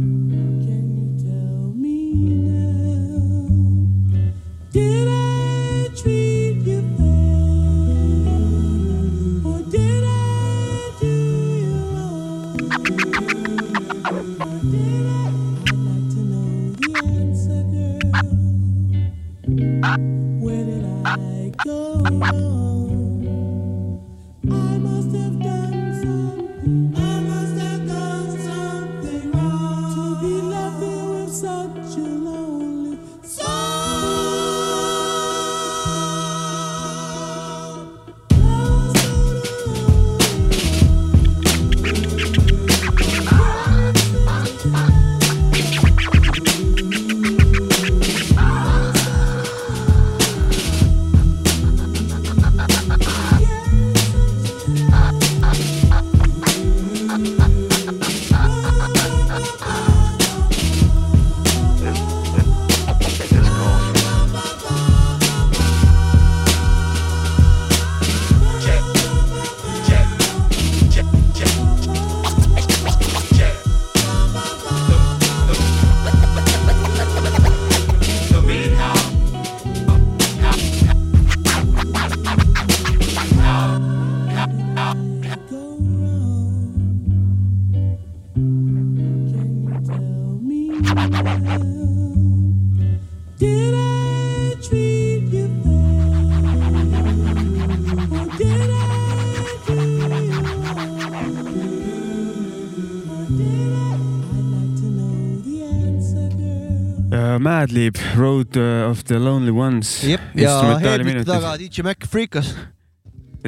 äh, Mad Lib Road äh, of the Lonely Ones .
jep , ja Helmiti taga . DJ Mac Freekas .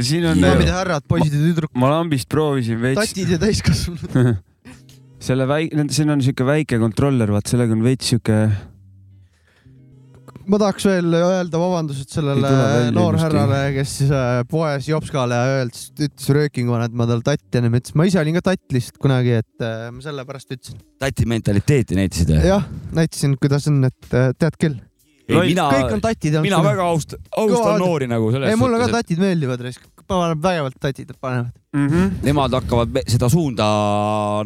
siin on ,
daamid ja härrad , poisid ja tüdrukud ,
ma lambist proovisin veits .
tatid ja täiskasvanud .
selle väike , siin on siuke väike kontroller , vaat sellega on veits siuke
ma tahaks veel öelda vabandused
Ei tule välja
sellele noorhärrale
ilmselt. ,
kes siis äh, poes Jopskale öeldes ütles röökinguna , et ma tal tatt ennem ütlesin , ma ise olin ka tatt lihtsalt kunagi , et äh, ma sellepärast ütlesin ,
tati mentaliteeti näitasid või ?
jah , näitasin , kuidas on , et äh, tead küll ,
ei , mina ,
kõik on tatid olnud .
mina väga austan ,
Kõvad.
austan noori nagu selles
ei , mulle ka
suhtes ,
tatid meeldivad , raisk , paneb vägevalt tatid panevad .
mm . -hmm.
et nemad hakkavad me- seda suunda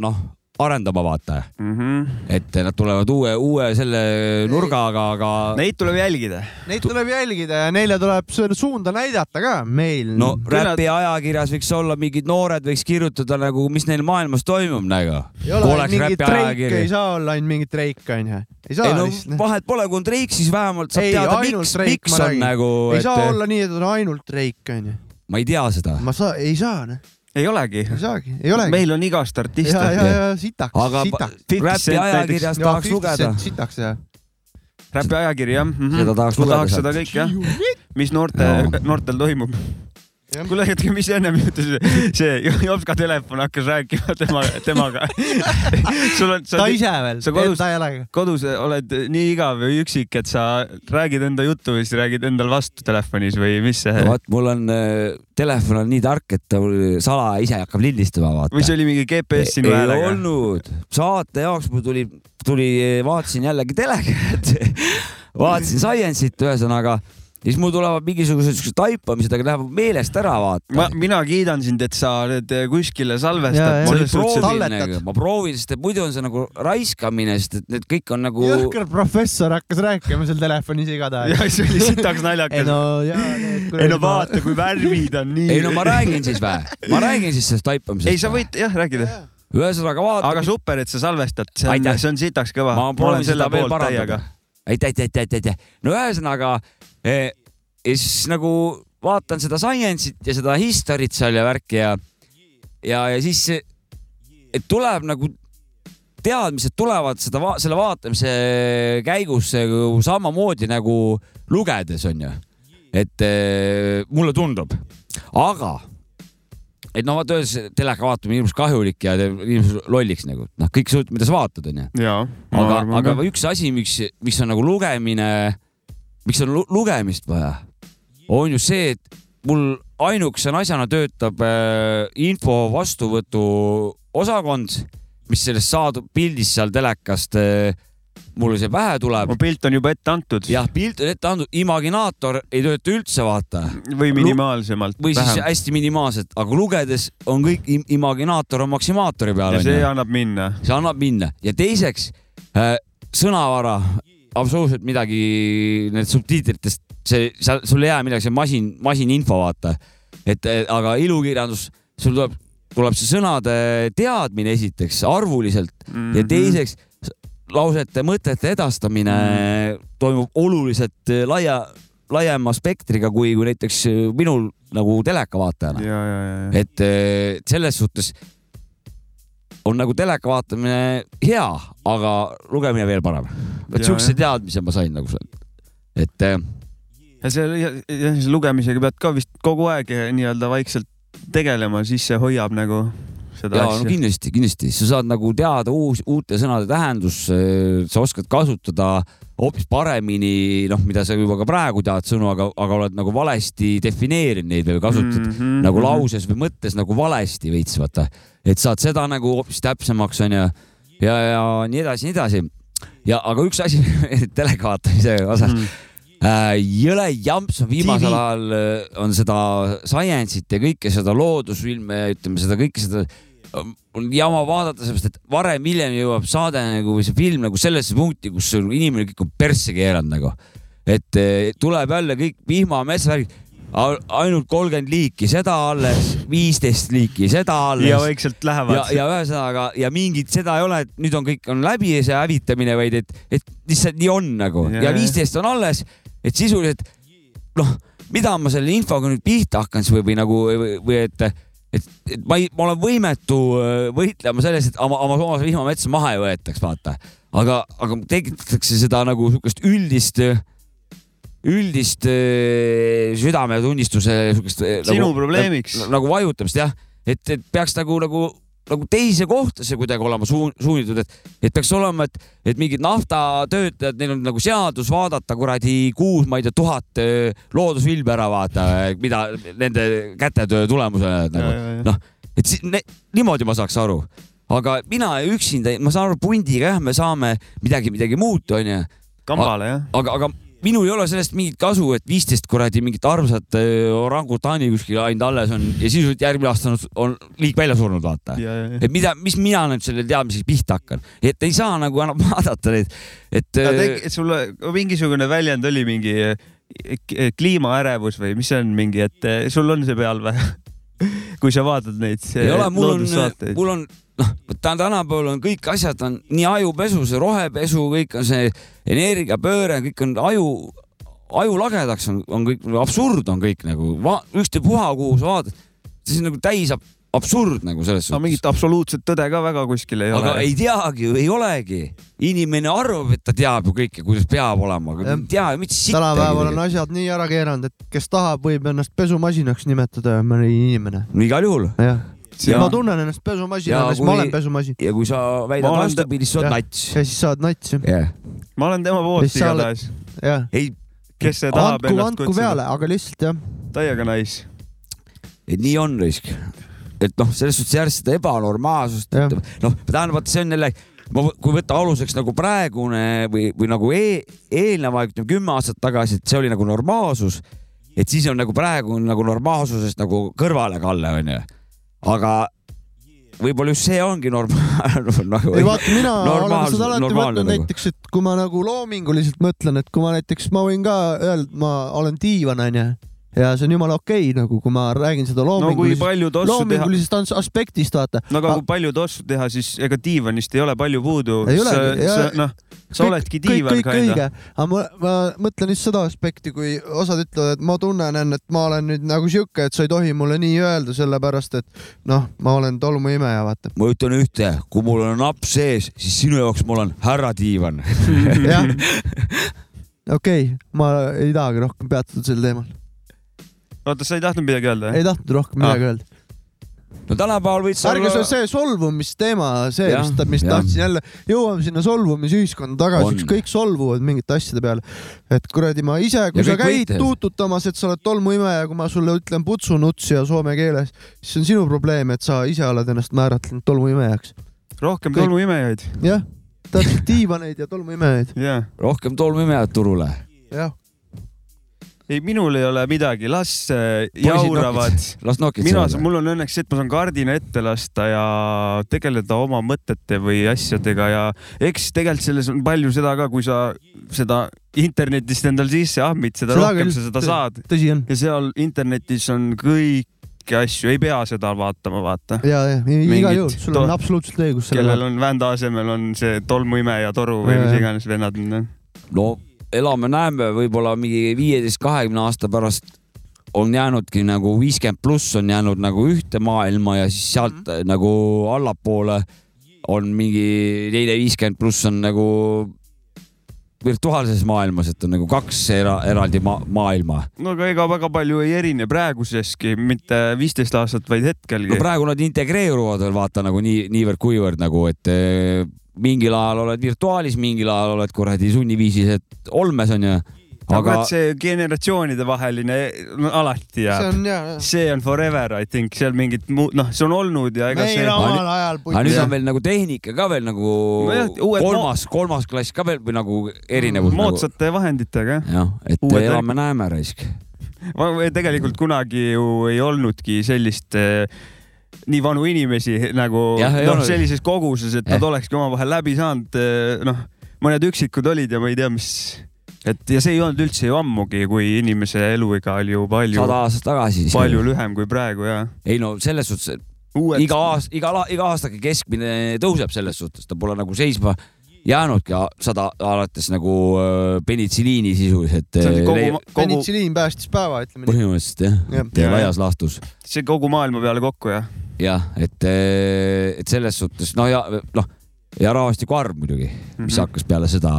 noh , arendama vaata ,
Mm
Mhm.
-hmm.
et nad tulevad uue , uue selle nurgaga , aga
Neid tuleb jälgida .
Neid tuleb jälgida ja neile tuleb su- suunda näidata ka meil .
no
küllalt-
räpi ajakirjas võiks olla mingid noored võiks kirjutada nagu , mis neil maailmas toimub nagu .
ei ole mingit treike , ei saa olla ainult mingit treik onju . ei saa
ei no
lihtsalt .
vahet pole , kui on treik , siis vähemalt saab
Ei,
ei, teada ,
ainult
miks ,
treik, ma
miks on
räägin.
nagu ,
ei
et
saa olla nii , et on ainult treik onju .
ma ei tea seda ,
ma saa , ei saa noh ,
ei olegi .
ei saagi , ei olegi .
meil on igast
ja ,
artiste .
ja , ja sitaks ,
aga pa-
sitaks .
Fifty
räpi
Cent
ajakirjas tahaks lugeda .
sitaks jah .
räpi
mhm.
ajakiri jah mm . -hmm.
Seda tahaks
ma
lugeda
tahaks
sealt.
seda kõik jah . mis noorte
Jaa. ,
noortel toimub .
kuule , hetke , mis ennem juhtus , see Jopska telefon hakkas rääkima tema , temaga . sul on , sa
ta , ise veel ,
sa kodus-
ta ei ole .
kodus oled nii igav ja üksik , et sa räägid enda juttu või siis räägid endal vastu telefonis või mis see ,
vot mul on , telefon on nii tark , et ta mul sala ise hakkab lindistama , vaata .
või see oli mingi GPS sinu
ei
häälega ?
olnud , saate jaoks mul tuli , tuli , vaatasin jällegi telekat , vaatasin Science'it ühesõnaga , siis mul tulevad mingisugused siuksed taipamised , aga lähevad meelest ära ,
ma
vaata .,
mina kiidan sind , et sa oled eh, kuskile
Jaa,
salvestad
jaa. .
selles suhtes , et
talletad.
nagu, ma proovin , sest et muidu on see nagu raiskamine , sest et need kõik on nagu ,
jõhker professor hakkas rääkima seal telefonis igatahes .
ja see oli sitaks
ei
naljakas .
no jaa , need
ei no . vaata , kui värvid on nii .
ei no ma räägin siis vä , ma räägin siis sellest taipamisest .
ei , sa . võid jah rääkida ,
ühesõnaga
aga
vaata ,
super , et sa salvestad , see on ,
Aitäh.
see on sitaks kõva .
ma proovin seda veel parandada . aitäh , aitäh , aitäh , aitäh , aitäh . no ühesõnaga eh, ja siis nagu vaatan seda science'it ja seda history't seal ja värki ja , ja , ja siis eh, et tuleb nagu teadmised tulevad seda , selle vaatamise käigus nagu samamoodi nagu lugedes onju , et eh, mulle tundub , aga et noh , vaata ühes teleka vaatamine on hirmus kahjulik ja teeb inimese lolliks nagu noh , kõik sõltub , mida sa vaatad onju .
jaa .
aga , aga üks asi , miks , miks on nagu lugemine , miks on lu lugemist vaja , on ju see , et mul ainukese asjana töötab äh, info vastuvõtu osakond , mis sellest saadub pildis seal telekast äh, , mulle see pähe tuleb
mu . pilt on juba ette antud
jah , pilt on ette antud , imaginaator ei tööta üldse , vaata .
või minimaalsemalt .
või siis . hästi minimaalselt , aga lugedes on kõik im imaginaator on maksimaatori peal .
ja see annab minna .
see annab minna ja teiseks äh, sõnavara , absoluutselt midagi need subtiitritest , see , seal sul ei jää midagi , see masin , masininfo vaata , et äh, aga ilukirjandus , sul tuleb , tuleb see sõnade teadmine esiteks arvuliselt mm
Mhm.
-hmm. ja teiseks s- lausete , mõtete edastamine mm
Mhm.
-hmm. toimub oluliselt äh, laia , laiema spektriga kui , kui näiteks äh, minul nagu telekavaatajana
ja , ja , ja ,
et eh, selles suhtes on nagu teleka vaatamine hea , aga lugemine veel parem .
Jaa,
et siukse
jah.
teadmise ma sain nagu sealt , et eh,
ja selle , ja siis lugemisega pead ka vist kogu aeg eh, nii-öelda vaikselt tegelema , siis see hoiab nagu seda
ja no
asja .
kindlasti , kindlasti sa saad nagu teada uus , uute sõnade tähendus , sa oskad kasutada hoopis paremini , noh , mida sa juba ka praegu tead sõnu , aga , aga oled nagu valesti defineerinud neid või kasutad mm -hmm. nagu lauses või mõttes nagu valesti veits , vaata . et saad seda nagu hoopis täpsemaks onju ja, ja , ja nii edasi , nii edasi . ja , aga üks asi teleka vaatamise osas mm . -hmm Äh, jõle jamps on viimasel
TV.
ajal äh, on seda science'it ja kõike seda loodusfilme , ütleme seda kõike seda äh, on jama vaadata , sellepärast et varem-hiljem jõuab saade nagu või see film nagu sellesse punkti , kus sul inimene kõik on persse keeranud nagu . et eh, tuleb jälle kõik vihmametsa värgid , ainult kolmkümmend liiki seda alles , viisteist liiki seda alles
ja vaikselt
ja ,
lähevad .
ja ühesõnaga ja mingit seda ei ole , et nüüd on kõik on läbi ja see hävitamine , vaid et , et lihtsalt nii on nagu
Jaa,
ja
jah.
viisteist on alles , et sisuliselt noh , mida ma selle infoga nüüd pihta hakkan siis või , või nagu või, või et , et , et ma ei , ma olen võimetu öö, võitlema selles , et oma , oma Soomlase vihmametsa maha ei võetaks , vaata . aga , aga tekitatakse seda nagu sihukest üldist , üldist äh, öö, südametunnistuse sihukest . äh,
sinu probleemiks .
nagu vajutamist jah , et , et peaks nagu , nagu , nagu teise kohta see kuidagi olema suun- , suunitud , et , et peaks olema , et , et mingid naftatöötajad , neil on nagu seadus vaadata kuradi kuus , ma ei tea , tuhat öö, loodusfilmi ära vaata , mida nende kätetöö tulemusena nagu noh , et si- ne, niimoodi ma saaks aru , aga mina üksinda , ma saan aru , pundiga jah , me saame midagi , midagi muuta , onju ,
kambale jah .
aga , aga minul ei ole sellest mingit kasu , et viisteist kuradi mingit armsat öö, orangutani kuskil ainult alles on ja sisuliselt järgmine aasta on, on liik välja surnud , vaata .
ja , ja ,
et mida , mis mina nüüd selle teadmisega pihta hakkan , et ei saa nagu enam vaadata neid , et eh,
ja .
öö,
sul mingisugune väljend oli mingi eh, k- kliimaärevus või mis see on mingi , et eh, sul on see peal või ? kui sa vaatad neid eh,
ei ole , mul on ,
loodussaateid .
mul on , noh , ta tänapäeval on kõik asjad on nii ajupesu , see rohepesu , kõik on see energiapööre , kõik on aju , aju lagedaks on , on kõik , absurd on kõik nagu , ükstapuha , kuhu sa vaatad , see on nagu täis ab- absurd nagu selles
no
suhtes .
mingit absoluutset tõde ka väga kuskil ei
aga
ole .
ei teagi ju , ei olegi . inimene arvab , et ta teab ju kõike , kuidas peab olema , aga ta
Jah.
ei tea ju mitte sittagi .
tänapäeval on asjad nii ära keeranud , et kes tahab , võib ennast pesumasinaks nimetada , mõni inimene .
igal juhul .
jah ,
Ja-
ma tunnen ennast
Ja
pesumasinana , sest
kui-
ma olen pesumasin
ja kui sa väidad
Ma olen-
vastupidist , sa oled
jah.
nats .
ja siis saad natsi ,
jah ,
ma olen tema poolt
Mis sa oled-
igatahes ,
jah .
ei ,
kes see tahab
andku ,
ennast
andku peale ,
kutsuda .
aga lihtsalt jah ,
täiega nice .
et nii on risk . et noh , selles suhtes järjest seda ebanormaalsust ,
Jah.
noh , tähendab , vaata , see on jälle , ma , kui võtta aluseks nagu praegune või , või nagu e eelneva aeg , ütleme kümme aastat tagasi , et see oli nagu normaalsus , et siis on nagu praegu on nagu normaalsusest nagu kõrvalekalle , onju . aga võib-olla just see ongi normaalne nagu,
ei vaata , mina olen
normaalsus-
seda alati
normaalne
mõtelnud
nagu.
näiteks , et kui ma nagu loominguliselt mõtlen , et kui ma näiteks , ma võin ka öelda , ma olen diivan , onju , ja see on jumala okei okay, , nagu kui ma räägin seda
no kui
loomingulisest ,
palju tossu teha ,
loomingulisest ans- aspektist , vaata .
no aga kui palju tossu teha , siis ega diivanist ei ole palju puudu .
Ei olegi,
sa , sa
ja- ,
noh , sa oledki diivan
kõik , kõik
kinda .
õige , aga ma, ma mõtlen just seda aspekti , kui osad ütlevad , et ma tunnen end , et ma olen nüüd nagu sihuke , et sa ei tohi mulle nii öelda , sellepärast et noh , ma olen tolmuimeja , vaata .
ma ütlen ühte , kui mul on napp sees , siis sinu jaoks ma olen härra diivan .
jah , okei , ma ei tahagi rohkem peatuda sel teemal ,
oota , sa ei tahtnud midagi öelda ?
ei tahtnud rohkem
Ah.
midagi öelda .
Ah. no tänapäeval võid sa
ärge see , see solvumisteema , see ,
Jah,
mis , mis
jah.
tahtsin jälle , jõuame sinna solvumisühiskonda tagasi
On. ,
kõik solvuvad mingite asjade peale . et kuradi , ma ise , kui
Ja
sa
kõik
käid
võitlevad.
tuututamas , et sa oled tolmuimeja , kui ma sulle ütlen putsunuts ja soome keeles , siis on sinu probleem , et sa ise oled ennast määratlenud tolmuimejaks .
rohkem
Kõik-
tolmuimejaid ,
jah , täpselt diivaneid ja tolmuimejaid ,
jaa .
rohkem tolmuimejad turule .
jah .
ei , minul ei ole midagi , las äh, jauravad .
las nokid
mina , mul on õnneks see , et ma saan kardina ette lasta ja tegeleda oma mõtete või asjadega ja eks tegelikult selles on palju seda ka , kui sa seda internetist endal sisse ahmid , seda
Seda
rohkem
küll.
sa seda saad
tõsi on .
ja seal internetis on kõiki asju , ei pea seda vaatama , vaata .
ja , ja
Mingid
igal juhul , sul on
to-
absoluutselt õigus
kellel
sellele .
on vända asemel on see tolmuimeja toru või
Jaa,
mis
jah.
iganes vennad need on .
no elame-näeme , võib-olla mingi viieteist , kahekümne aasta pärast on jäänudki nagu viiskümmend pluss on jäänud nagu ühte maailma ja siis sealt mm -hmm. nagu allapoole on mingi teine viiskümmend pluss on nagu virtuaalses maailmas , et on nagu kaks era, eraldi ma maailma .
no aga ega väga palju ei erine praeguseski , mitte viisteist aastat , vaid
no
hetkelgi .
praegu nad integreeruvad veel vaata nagu nii , niivõrd-kuivõrd nagu , et eh, mingil ajal oled virtuaalis , mingil ajal oled kuradi sunniviisis , et olmes onju .
aga Nagu
aga
et see generatsioonide vaheline no, alati
see
jääb .
on jaa ,
see on forever , I think , seal mingit muud , noh , see on olnud ja ega see
meil . omal ajal
aga nüüd
puitis
on . veel nagu tehnika ka veel nagu
Nojah, uued
kolmas , kolmas klass ka veel või nagu erinevus nagu. .
moodsate vahenditega jah.
jah , et
uued
elame-näeme raisk .
Va- või tegelikult kunagi ju ei olnudki sellist eh, nii vanu inimesi nagu
Jah, ei
noh ,
olnud.
sellises koguses , et
Jah.
nad olekski omavahel läbi saanud , noh , mõned üksikud olid ja ma ei tea , mis , et ja see ei olnud üldse ju ammugi , kui inimese eluiga oli ju palju ,
sada aastat tagasi siis .
palju lühem kui praegu ja .
ei no selles suhtes , et iga aasta , iga , iga aastaga keskmine tõuseb selles suhtes , ta pole nagu seisma jäänudki a- sada alates nagu äh, penitsiliini sisuliselt .
see on kogu , kogu ,
penitsiliin päästis päeva , ütleme nii .
põhimõtteliselt jah ,
Jah.
et
Jah,
laias laastus
see kogu maailma peale kokku jah .
jah , et , et selles suhtes no ja noh , ja rahvastikuarv muidugi , mis mm
Mhm.
-hmm. hakkas peale seda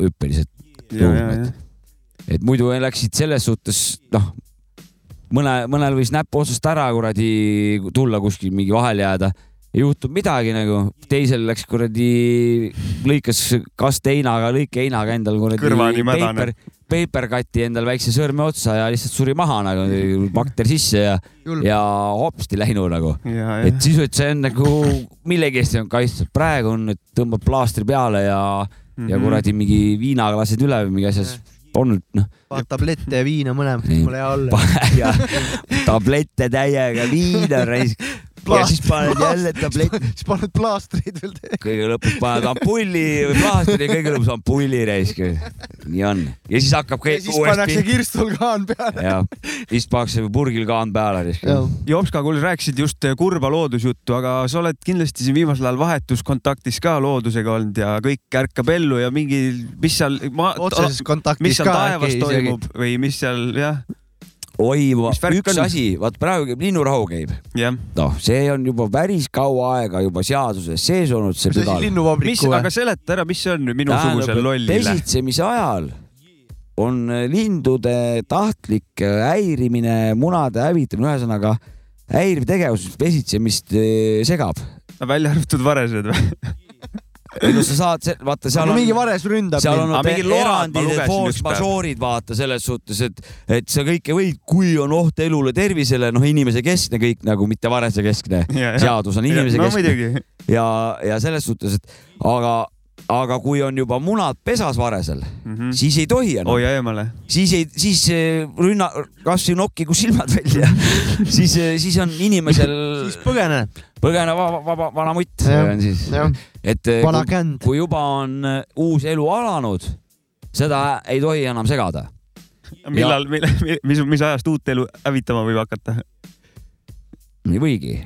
hüppeliselt
ja , ja ,
Movement.
ja .
et muidu läksid selles suhtes noh , mõne , mõnel võis näpp otsast ära kuradi tulla kuskil mingi vahele jääda , ei juhtunud midagi nagu , teisel läks kuradi , lõikas kaste heinaga , lõike heinaga endal
Kõrvani
kuradi
mädane.
peiper , peiperkati endal väikse sõrme otsa ja lihtsalt suri maha nagu bakter sisse ja ,
julm .
ja hopsti läinud nagu .
ja , ja
et . sisuliselt see on nagu millegi eest ei olnud kaitstud , praegu on , et tõmbad plaastri peale ja mm , -hmm.
Mhm.
ja . kuradi mingi viinaga lased üle või mingi asja , siis on noh ,
paar tablette ja viina mõlemat
Nii.
mulle hea olla .
pane ja tablette täiega viina raisk ja siis paned jälle tablett ,
siis paned plaastreid veel täis .
kõige lõpus paned ampulli või plaastri ja kõige lõpus ampulli raisk . nii on ja siis hakkab
ja
kõik
siis pannakse
uuesti .
kirstul kaan peale .
ja siis pannakse purgil kaan peale raisk .
Jopska , kuule , sa rääkisid just kurba loodusjuttu , aga sa oled kindlasti siin viimasel ajal vahetuskontaktis ka loodusega olnud ja kõik ärkab ellu ja mingi , mis seal ,
otseses
mis
kontaktis
seal
ka
taevas
äkki isegi .
toimub või mis seal jah ,
oi ,
Mis värk
üks
on?
asi , vaat praegu käib linnurahu käib ,
jah .
noh , see on juba päris kaua aega juba seaduses sees olnud see
mis asi ,
pügal .
mis ,
linnuvabriku
aga
või ?
seleta ära , mis see on nüüd minusugusel lollile ?
pesitsemise ajal on lindude tahtlik häirimine , munade hävitamine , ühesõnaga häiriv tegevus mis pesitsemist eh, segab .
välja arvatud varesed või ?
ei no sa saad , vaata seal
mingi
on ,
vares ründab
seal on
mind .
Aga
need
mingi load ma
erandid ,
lugesin
et force
ükspäev.
majeure'id vaata selles suhtes , et , et sa kõike võid , kui on oht elule , tervisele , noh , inimese keskne kõik nagu mitte varese keskne
Ja, ja.
seadus on inimese
no
keskne
muidugi ,
ja , ja selles suhtes , et aga , aga kui on juba munad pesas varesel mm ,
Mhm.
-hmm. siis ei tohi enam .
hoia eemale .
siis ei , siis eh, rünna , kasvõi nokkigu silmad välja , siis , siis on inimesel
siis põgene .
põgene vaba , vaba , vana mutt , see
Jah,
on siis ,
jah.
et eh,
vana
kui,
känd .
kui juba on eh, uus elu alanud , seda ei tohi enam segada .
millal , mis , mis ajast uut elu hävitama võib hakata ?
ei võigi .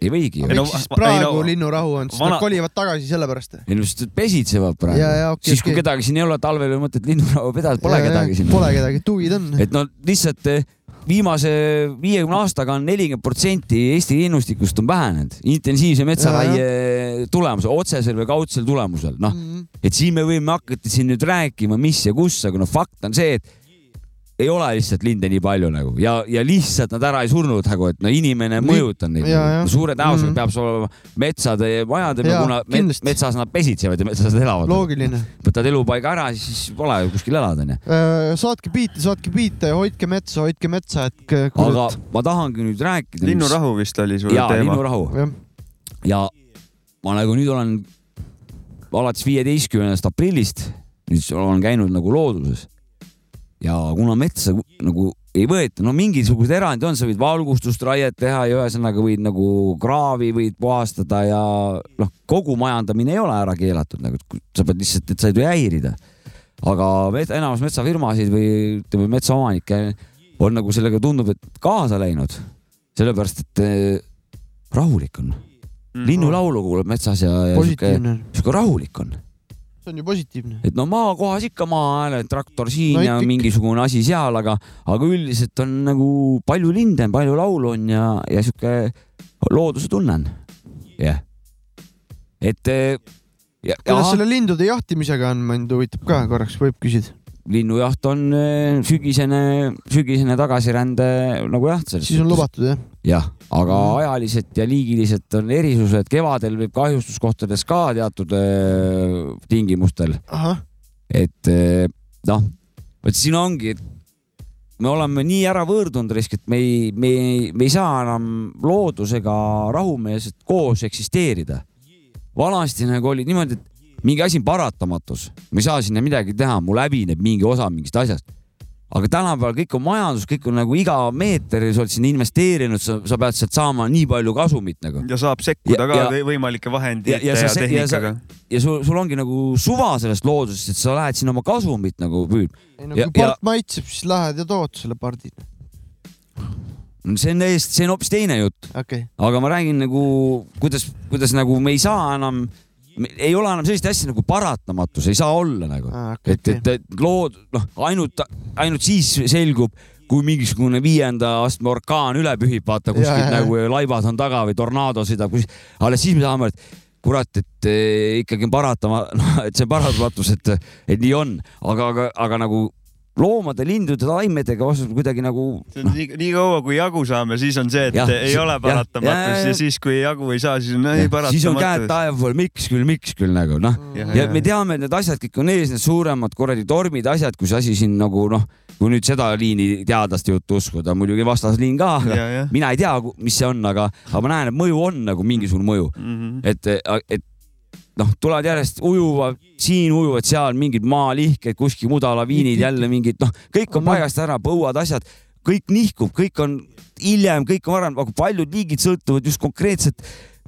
ei võigi ju
Ei no- .
miks siis
va- ei
praegu
no-
ilmselt on , sest
vana-
nad kolivad tagasi sellepärast .
ei no sest pesitsevad praegu
Jaa, jaa, . okei,
siis kui
okei.
kedagi siin ei ole , talvel ei ole mõtet linnulaua pidada , pole kedagi siin .
Pole kedagi , tuvid on .
et no lihtsalt eh, viimase viiekümne aastaga on nelikümmend protsenti Eesti linnustikust on vähenenud intensiivse metsaraie tulemusel , otsesel või kaudsel tulemusel , noh ,
Mhm.
et siin me võime hakata siin nüüd rääkima , mis ja kus , aga no fakt on see , et ei ole lihtsalt linde nii palju nagu ja , ja lihtsalt nad ära ei surnud nagu , et no inimene mõjutab neid
Jaa, jaa.
no, . suure tõenäosusega
Mhm.
mm -hmm. peab see olema metsade ja majade ,
Jaa,
kuna me-
kindlasti.
metsas nad pesitsevad ja metsas nad elavad .
loogiline .
võtad elupaiga ära , siis pole ju kuskil elada onju .
Äh, saatke biite , saatke biite , hoidke metsa , hoidke metsa , et k-
aga
kurat .
ma tahangi nüüd rääkida .
linnurahu vist oli sul
jaa ,
teema .
linnurahu ja ma nagu nüüd olen alates viieteistkümnendast aprillist , nüüd olen käinud nagu looduses . ja kuna metsa nagu ei võeta , no mingisugused erandid on , sa võid valgustusraiet teha ja ühesõnaga võid nagu kraavi võid puhastada ja noh , kogu majandamine ei ole ära keelatud , nagu et kui- sa pead lihtsalt , et sa ei tohi häirida . aga met- enamus metsafirmasid või ütleme , metsaomanikke on nagu sellega tundub , et kaasa läinud , sellepärast et eh, rahulik on . linnulaulu kuuleb metsas ja , ja sihuke ,
positiivne ,
sihuke rahulik on ,
see on ju positiivne .
et no maakohas ikka maahääle , traktor siin
No
no, ja
ikka-
mingisugune asi seal , aga , aga üldiselt on nagu palju linde on , palju laulu on ja , ja sihuke looduse tunne on . jah . et eh, ja,
kuidas
ja
selle lindude jahtimisega on , mind huvitab ka korraks , võib küsida .
linnujaht on eh, sügisene , sügisene tagasirände nagu jaht .
siis on . lubatud jah ?
jah , aga
Mhm.
ajaliselt ja liigiliselt on erisused , kevadel võib kahjustuskohtades ka teatud eh, tingimustel
ahah ,
et eh, noh , vot siin ongi , et me oleme nii ära võõrdunud risk , et me ei , me ei , me ei saa enam loodusega rahumeelselt koos eksisteerida . vanasti nagu oli niimoodi , et mingi asi on paratamatus , ma ei saa sinna midagi teha , mul hävineb mingi osa mingist asjast . aga tänapäeval kõik on majandus , kõik on nagu iga meeter , sa oled sinna investeerinud , sa , sa pead sealt saama nii palju kasumit nagu .
ja saab sekkuda
Ja-
ka
ja-
võ- võimalike
ja-
vahendite
ja
ja,
sa
ja
se- ja sa-
tehnikaga .
ja sul , sul ongi nagu suva sellest loodusest , et sa lähed sinna oma kasumit nagu püüdma .
ei no
Ja-
kui part maitseb , siis lähed ja tood selle pardi .
see on täiesti , see on hoopis teine jutt .
okei okay. ,
aga ma räägin nagu , kuidas , kuidas nagu me ei saa enam , ei ole enam sellist asja nagu paratamatus , ei saa olla nagu .
okei ,
et ,
okei .
et , et lood , noh , ainult , ainult siis selgub , kui mingisugune viienda astme orkaan üle pühib , vaata
Jaa, jaa,
kuskilt
jaa.
nagu ja laibad on taga või tornaado sõidab , alles siis me saame , et kurat , et eh, ikkagi on paratama , et see on paratamatus , et , et nii on , aga , aga , aga nagu loomade , lindude , taimedega osas kuidagi nagu
nii , nii kaua kui jagu saame , siis on see , et ja,
Jah,
ei
si-
ole
jah, jah, jah,
paratamatus ja,
jah.
ja siis , kui jagu ei saa , siis on ei Mm.
Ja siis on käed
paratamatus .
taeva pool , miks küll , miks küll nagu noh , ja me teame , et need asjad kõik on ees , need suuremad kuradi tormid , asjad , kus asi siin nagu noh , kui nüüd seda liini teadlaste juttu uskuda , muidugi vastasliin ka , aga
ja , jah .
mina ei tea , mis see on , aga , aga ma näen , et mõju on nagu mingisugune
Mm.
mõju ,
Mhm.
et , et noh , tulevad järjest ujuvad siin , ujuvad seal mingid maalihked , kuskil mudalaviinid jälle mingid noh , kõik on paigast ära , põuad , asjad , kõik nihkub , kõik on hiljem , kõik on varem , aga paljud liigid sõltuvad just konkreetselt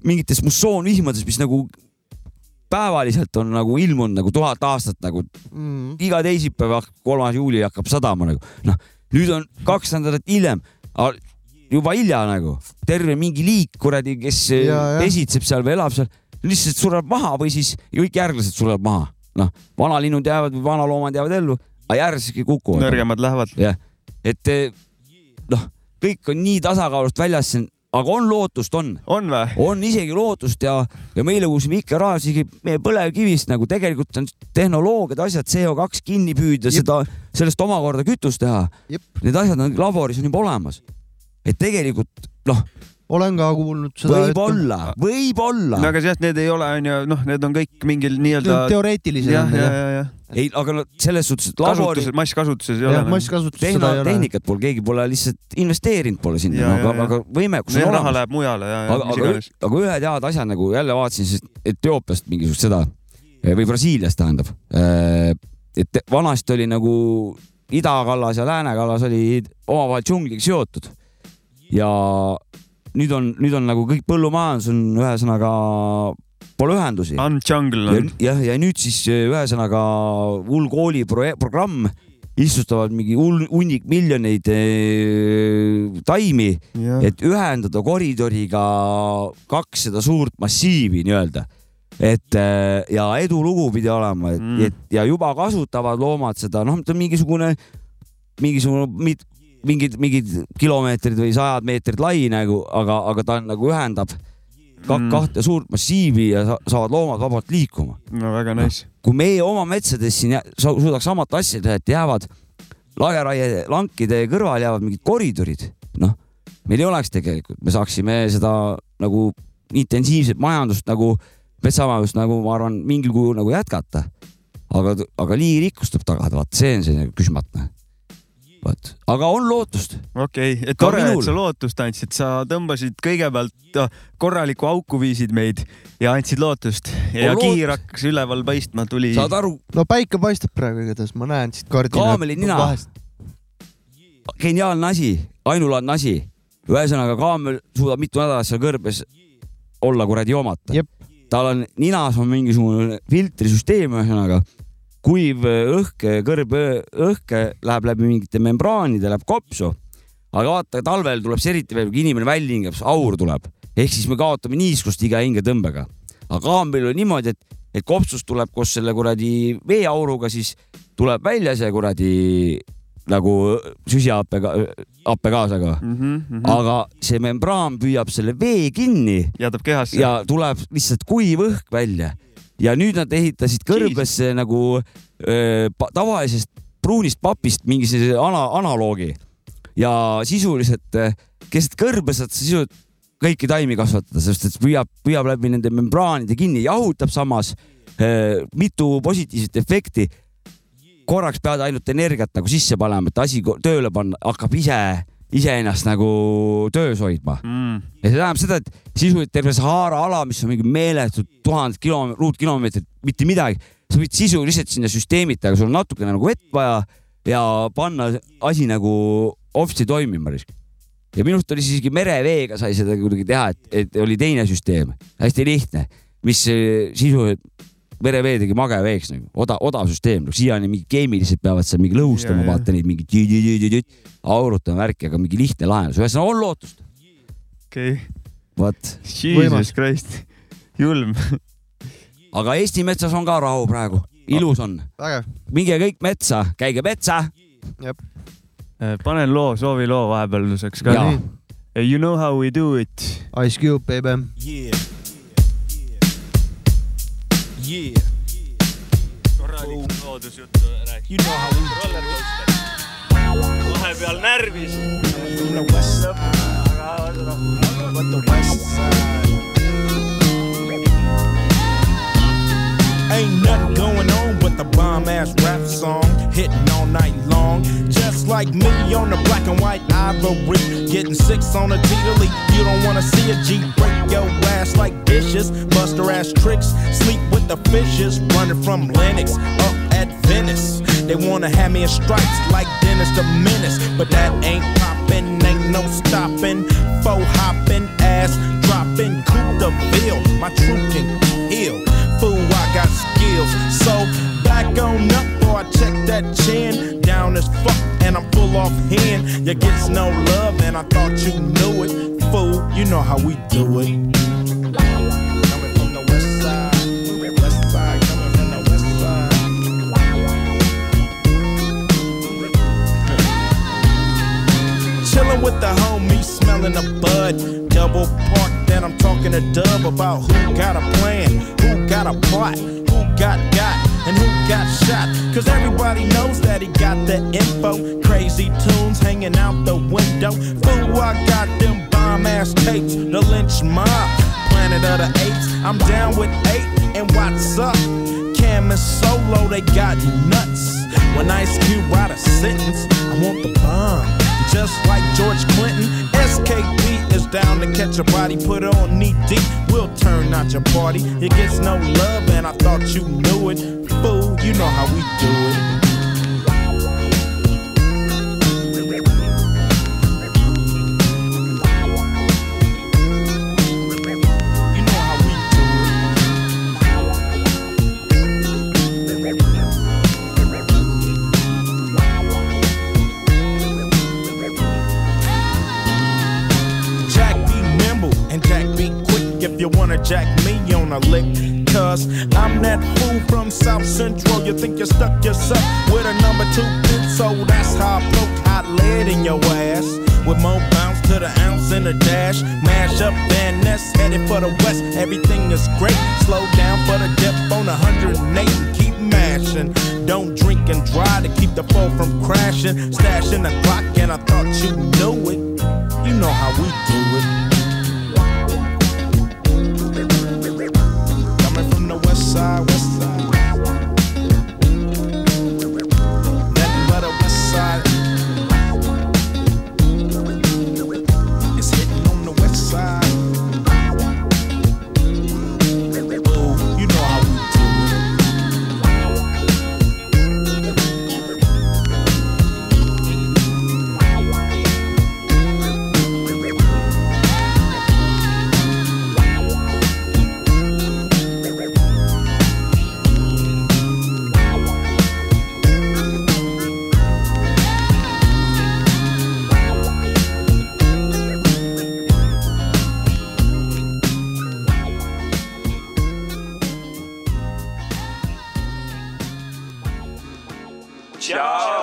mingitest mussoonvihmadest , mis nagu päevaliselt on nagu ilmunud nagu tuhat aastat nagu
Mm-hmm.
iga teisipäev , kolmas juuli hakkab sadama nagu , noh , nüüd on kaks nädalat hiljem , juba hilja nagu , terve mingi liik kuradi , kes
Jaa, jah.
pesitseb seal või elab seal , lihtsalt sureb maha või siis kõik järglased surevad maha , noh , vanalinnud jäävad või vanaloomad jäävad ellu , aga järglased kõik kukuvad .
nõrgemad lähevad .
jah , et eh, noh , kõik on nii tasakaalust väljas siin , aga on lootust , on .
on või ?
on isegi lootust ja , ja meile uus mikrorahvas isegi meie põlevkivist nagu tegelikult on tehnoloogiad , asjad , CO2 kinni püüda , seda , sellest omakorda kütust teha .
Jep.
Need asjad on laboris on juba olemas . et tegelikult noh ,
olen ka kuulnud seda .
võib-olla , võib-olla
no aga jah , need ei ole , onju , noh , need on kõik mingil nii-öelda .
teoreetilised
jah ,
on
ja ,
need jah .
ja , ja
ei , aga no selles suhtes , et labori
kasutuses , masskasutuses ei
jah ,
ole .
masskasutust
tehno
seda ei , ole .
tehnikat pole , keegi pole lihtsalt investeerinud pole sinna ,
Ja,
no,
ja,
aga ,
ja.
aga võimekus
see
on
raha
olemas .
läheb mujale ja , ja
aga ,
mis
aga,
iganes .
aga ühed head asjad nagu jälle vaatasin , siis Etioopiast mingisugust seda eh, või Brasiiliast tähendab . et vanasti oli nagu idakallas ja läänekallas olid omavahel džungliga seotud ja nüüd on , nüüd on nagu kõik põllumajandus on ühesõnaga , pole ühendusi .
Unjungle on .
jah , ja nüüd siis eh, ühesõnaga hull kooli proje- programm istutavad mingi hull hunnik miljoneid eh, taimi , et ühendada koridoriga kaks seda suurt massiivi nii-öelda . et eh, ja edulugu pidi olema , et
Mm.
mm. , et ja juba kasutavad loomad seda , noh , ta on mingisugune , mingisugune mit, mingid , mingid kilomeetrid või sajad meetrid lai nagu , aga , aga ta on nagu ühendab ka
Mm.
kahte suurt massiivi ja sa saavad loomad vabalt liikuma Ah,
no väga nice .
kui meie oma metsades siin jää- sa- suudaks samat asja teha , et jäävad lageraie lankide kõrval jäävad mingid koridorid , noh , meil ei oleks tegelikult , me saaksime seda nagu intensiivset majandust nagu , metsamajandust nagu ma arvan , mingil kujul nagu jätkata . aga , aga liirikkus tuleb tagada , vaat see on see nagu küsmatne . vot , aga on lootust .
okei okay. ,
Ka
tore ,
minul.
et sa lootust andsid , sa tõmbasid kõigepealt ah, korraliku auku viisid meid ja andsid lootust ja
On loot-
kiir hakkas üleval paistma , tuli .
saad aru ,
no päike paistab praegu igatahes , ma näen siit kardina .
Kaameli nina. geniaalne asi , ainulaadne asi . ühesõnaga , kaamel suudab mitu nädalat seal kõrbes olla kuradi joomata
Jep. .
tal on ninas on mingisugune filtrisüsteem , ühesõnaga kuiv õhk , kõrbõhk läheb läbi mingite membraanide , läheb kopsu . aga vaata , talvel tuleb see eriti veel , kui inimene välja hingab , siis aur tuleb . ehk siis me kaotame niiskust iga hingetõmbega . aga kaamel on niimoodi , et , et kopsust tuleb koos selle kuradi veeauruga , siis tuleb välja see kuradi nagu süsihappega , happegaasiga ,
mm
Mm-hmm, Mhm.
-hmm.
aga see membraan püüab selle vee kinni
jätab kehasse .
ja tuleb lihtsalt kuiv õhk välja . ja nüüd nad ehitasid kõrbesse nagu öö, pa- tavalisest pruunist papist mingi sellise ana, analoogi ja sisuliselt eh, keset kõrbe saad sa sisuliselt kõiki taimi kasvatada , sest et püüab , püüab läbi nende membraanide kinni , jahutab samas eh, mitu positiivset efekti . korraks pead ainult energiat nagu sisse panema , et asi ko- tööle panna , hakkab ise , iseennast nagu töös hoidma .
Mm.
ja see tähendab seda , et sisuliselt terve Sahara ala , mis on mingi meeletud tuhanded kilomeetrid , ruutkilomeetrid , mitte midagi , sa võid sisuliselt sinna süsteemita , aga sul on natukene nagu vett vaja ja panna asi nagu offsi toimima . ja minu arust oli siis isegi mereveega sai seda kuidagi teha , et , et oli teine süsteem , hästi lihtne , mis eh, sisuliselt merevee tegi mageveeks nagu , oda- , odav süsteem , siiani mingi keemilised peavad seal mingi lõhustama ,
Ja, ja.
vaata neid mingi tü-tü-tü-tü-tü , aurutama värki , aga mingi lihtne lahendus , ühesõnaga on lootust ,
okei okay. ,
vot
jesus
Võimas.
christ , julm .
aga Eesti metsas on ka rahu praegu , ilus on ,
vägev ,
minge kõik metsa , käige metsa
Eh, panen loo , soovi loo vahepealuseks ka Eh,
ja .
You know how we do it .
Ice Cube , baby .
Yeah. Yeah. You know how we vahepeal närvis .
Ain't nothing going on but the bomb ass rap song hitting all night long. Just like me on the black and white ivory, getting six on a Tita Lee. You don't wanna see a G break your ass like dishes, buster ass tricks, sleep with the fishes, running from Lennox up at Venice. They wanna have me in stripes like Dennis the Menace, but that ain't poppin', ain't no stoppin'. Faux hoppin', ass droppin', coup the bill, my troop can heal. Fool, I got skills, so back on up or I check that chin. Down as fuck and I'm full off hand. You gets no love and I thought you knew it. Fool, you know how we do it. Coming from the west side, west side, coming from the west side. in the bud. Double park, then I'm talking to Dub about who got a plan, who got a plot, who got got, and who got shot. Cause everybody knows that he got the info. Crazy tunes hanging out the window. Fool, I got them bomb ass tapes. The lynch mob, planet of the apes. I'm down with eight, and what's up? Cam and Solo, they got nuts. When Ice Cube write a sentence, I want the bomb. Just like George Clinton, SKP is down to catch a body, put it on knee deep. We'll turn out your party. It gets no love, and I thought you knew it. Fool, you know how we do it. You know how we do it. Jack be nimble and Jack be quick if you wanna jack me on a lick. Cause I'm that fool from South Central. You think you stuck yourself with a number two pin, so that's how I poke hot lead in your ass. With more bounce to the ounce in the dash. Mash up Van Ness, headed for the west. Everything is great. Slow down for the depth on 108 and keep mashing. Don't drink and drive to keep the foe from crashing. Stashing the clock, and I thought you knew it. You know how we do it. Coming from the west side, west side. Nothing but a west side. It's hitting on the west side. Ooh, Oh, you know how we do it.
Ciao.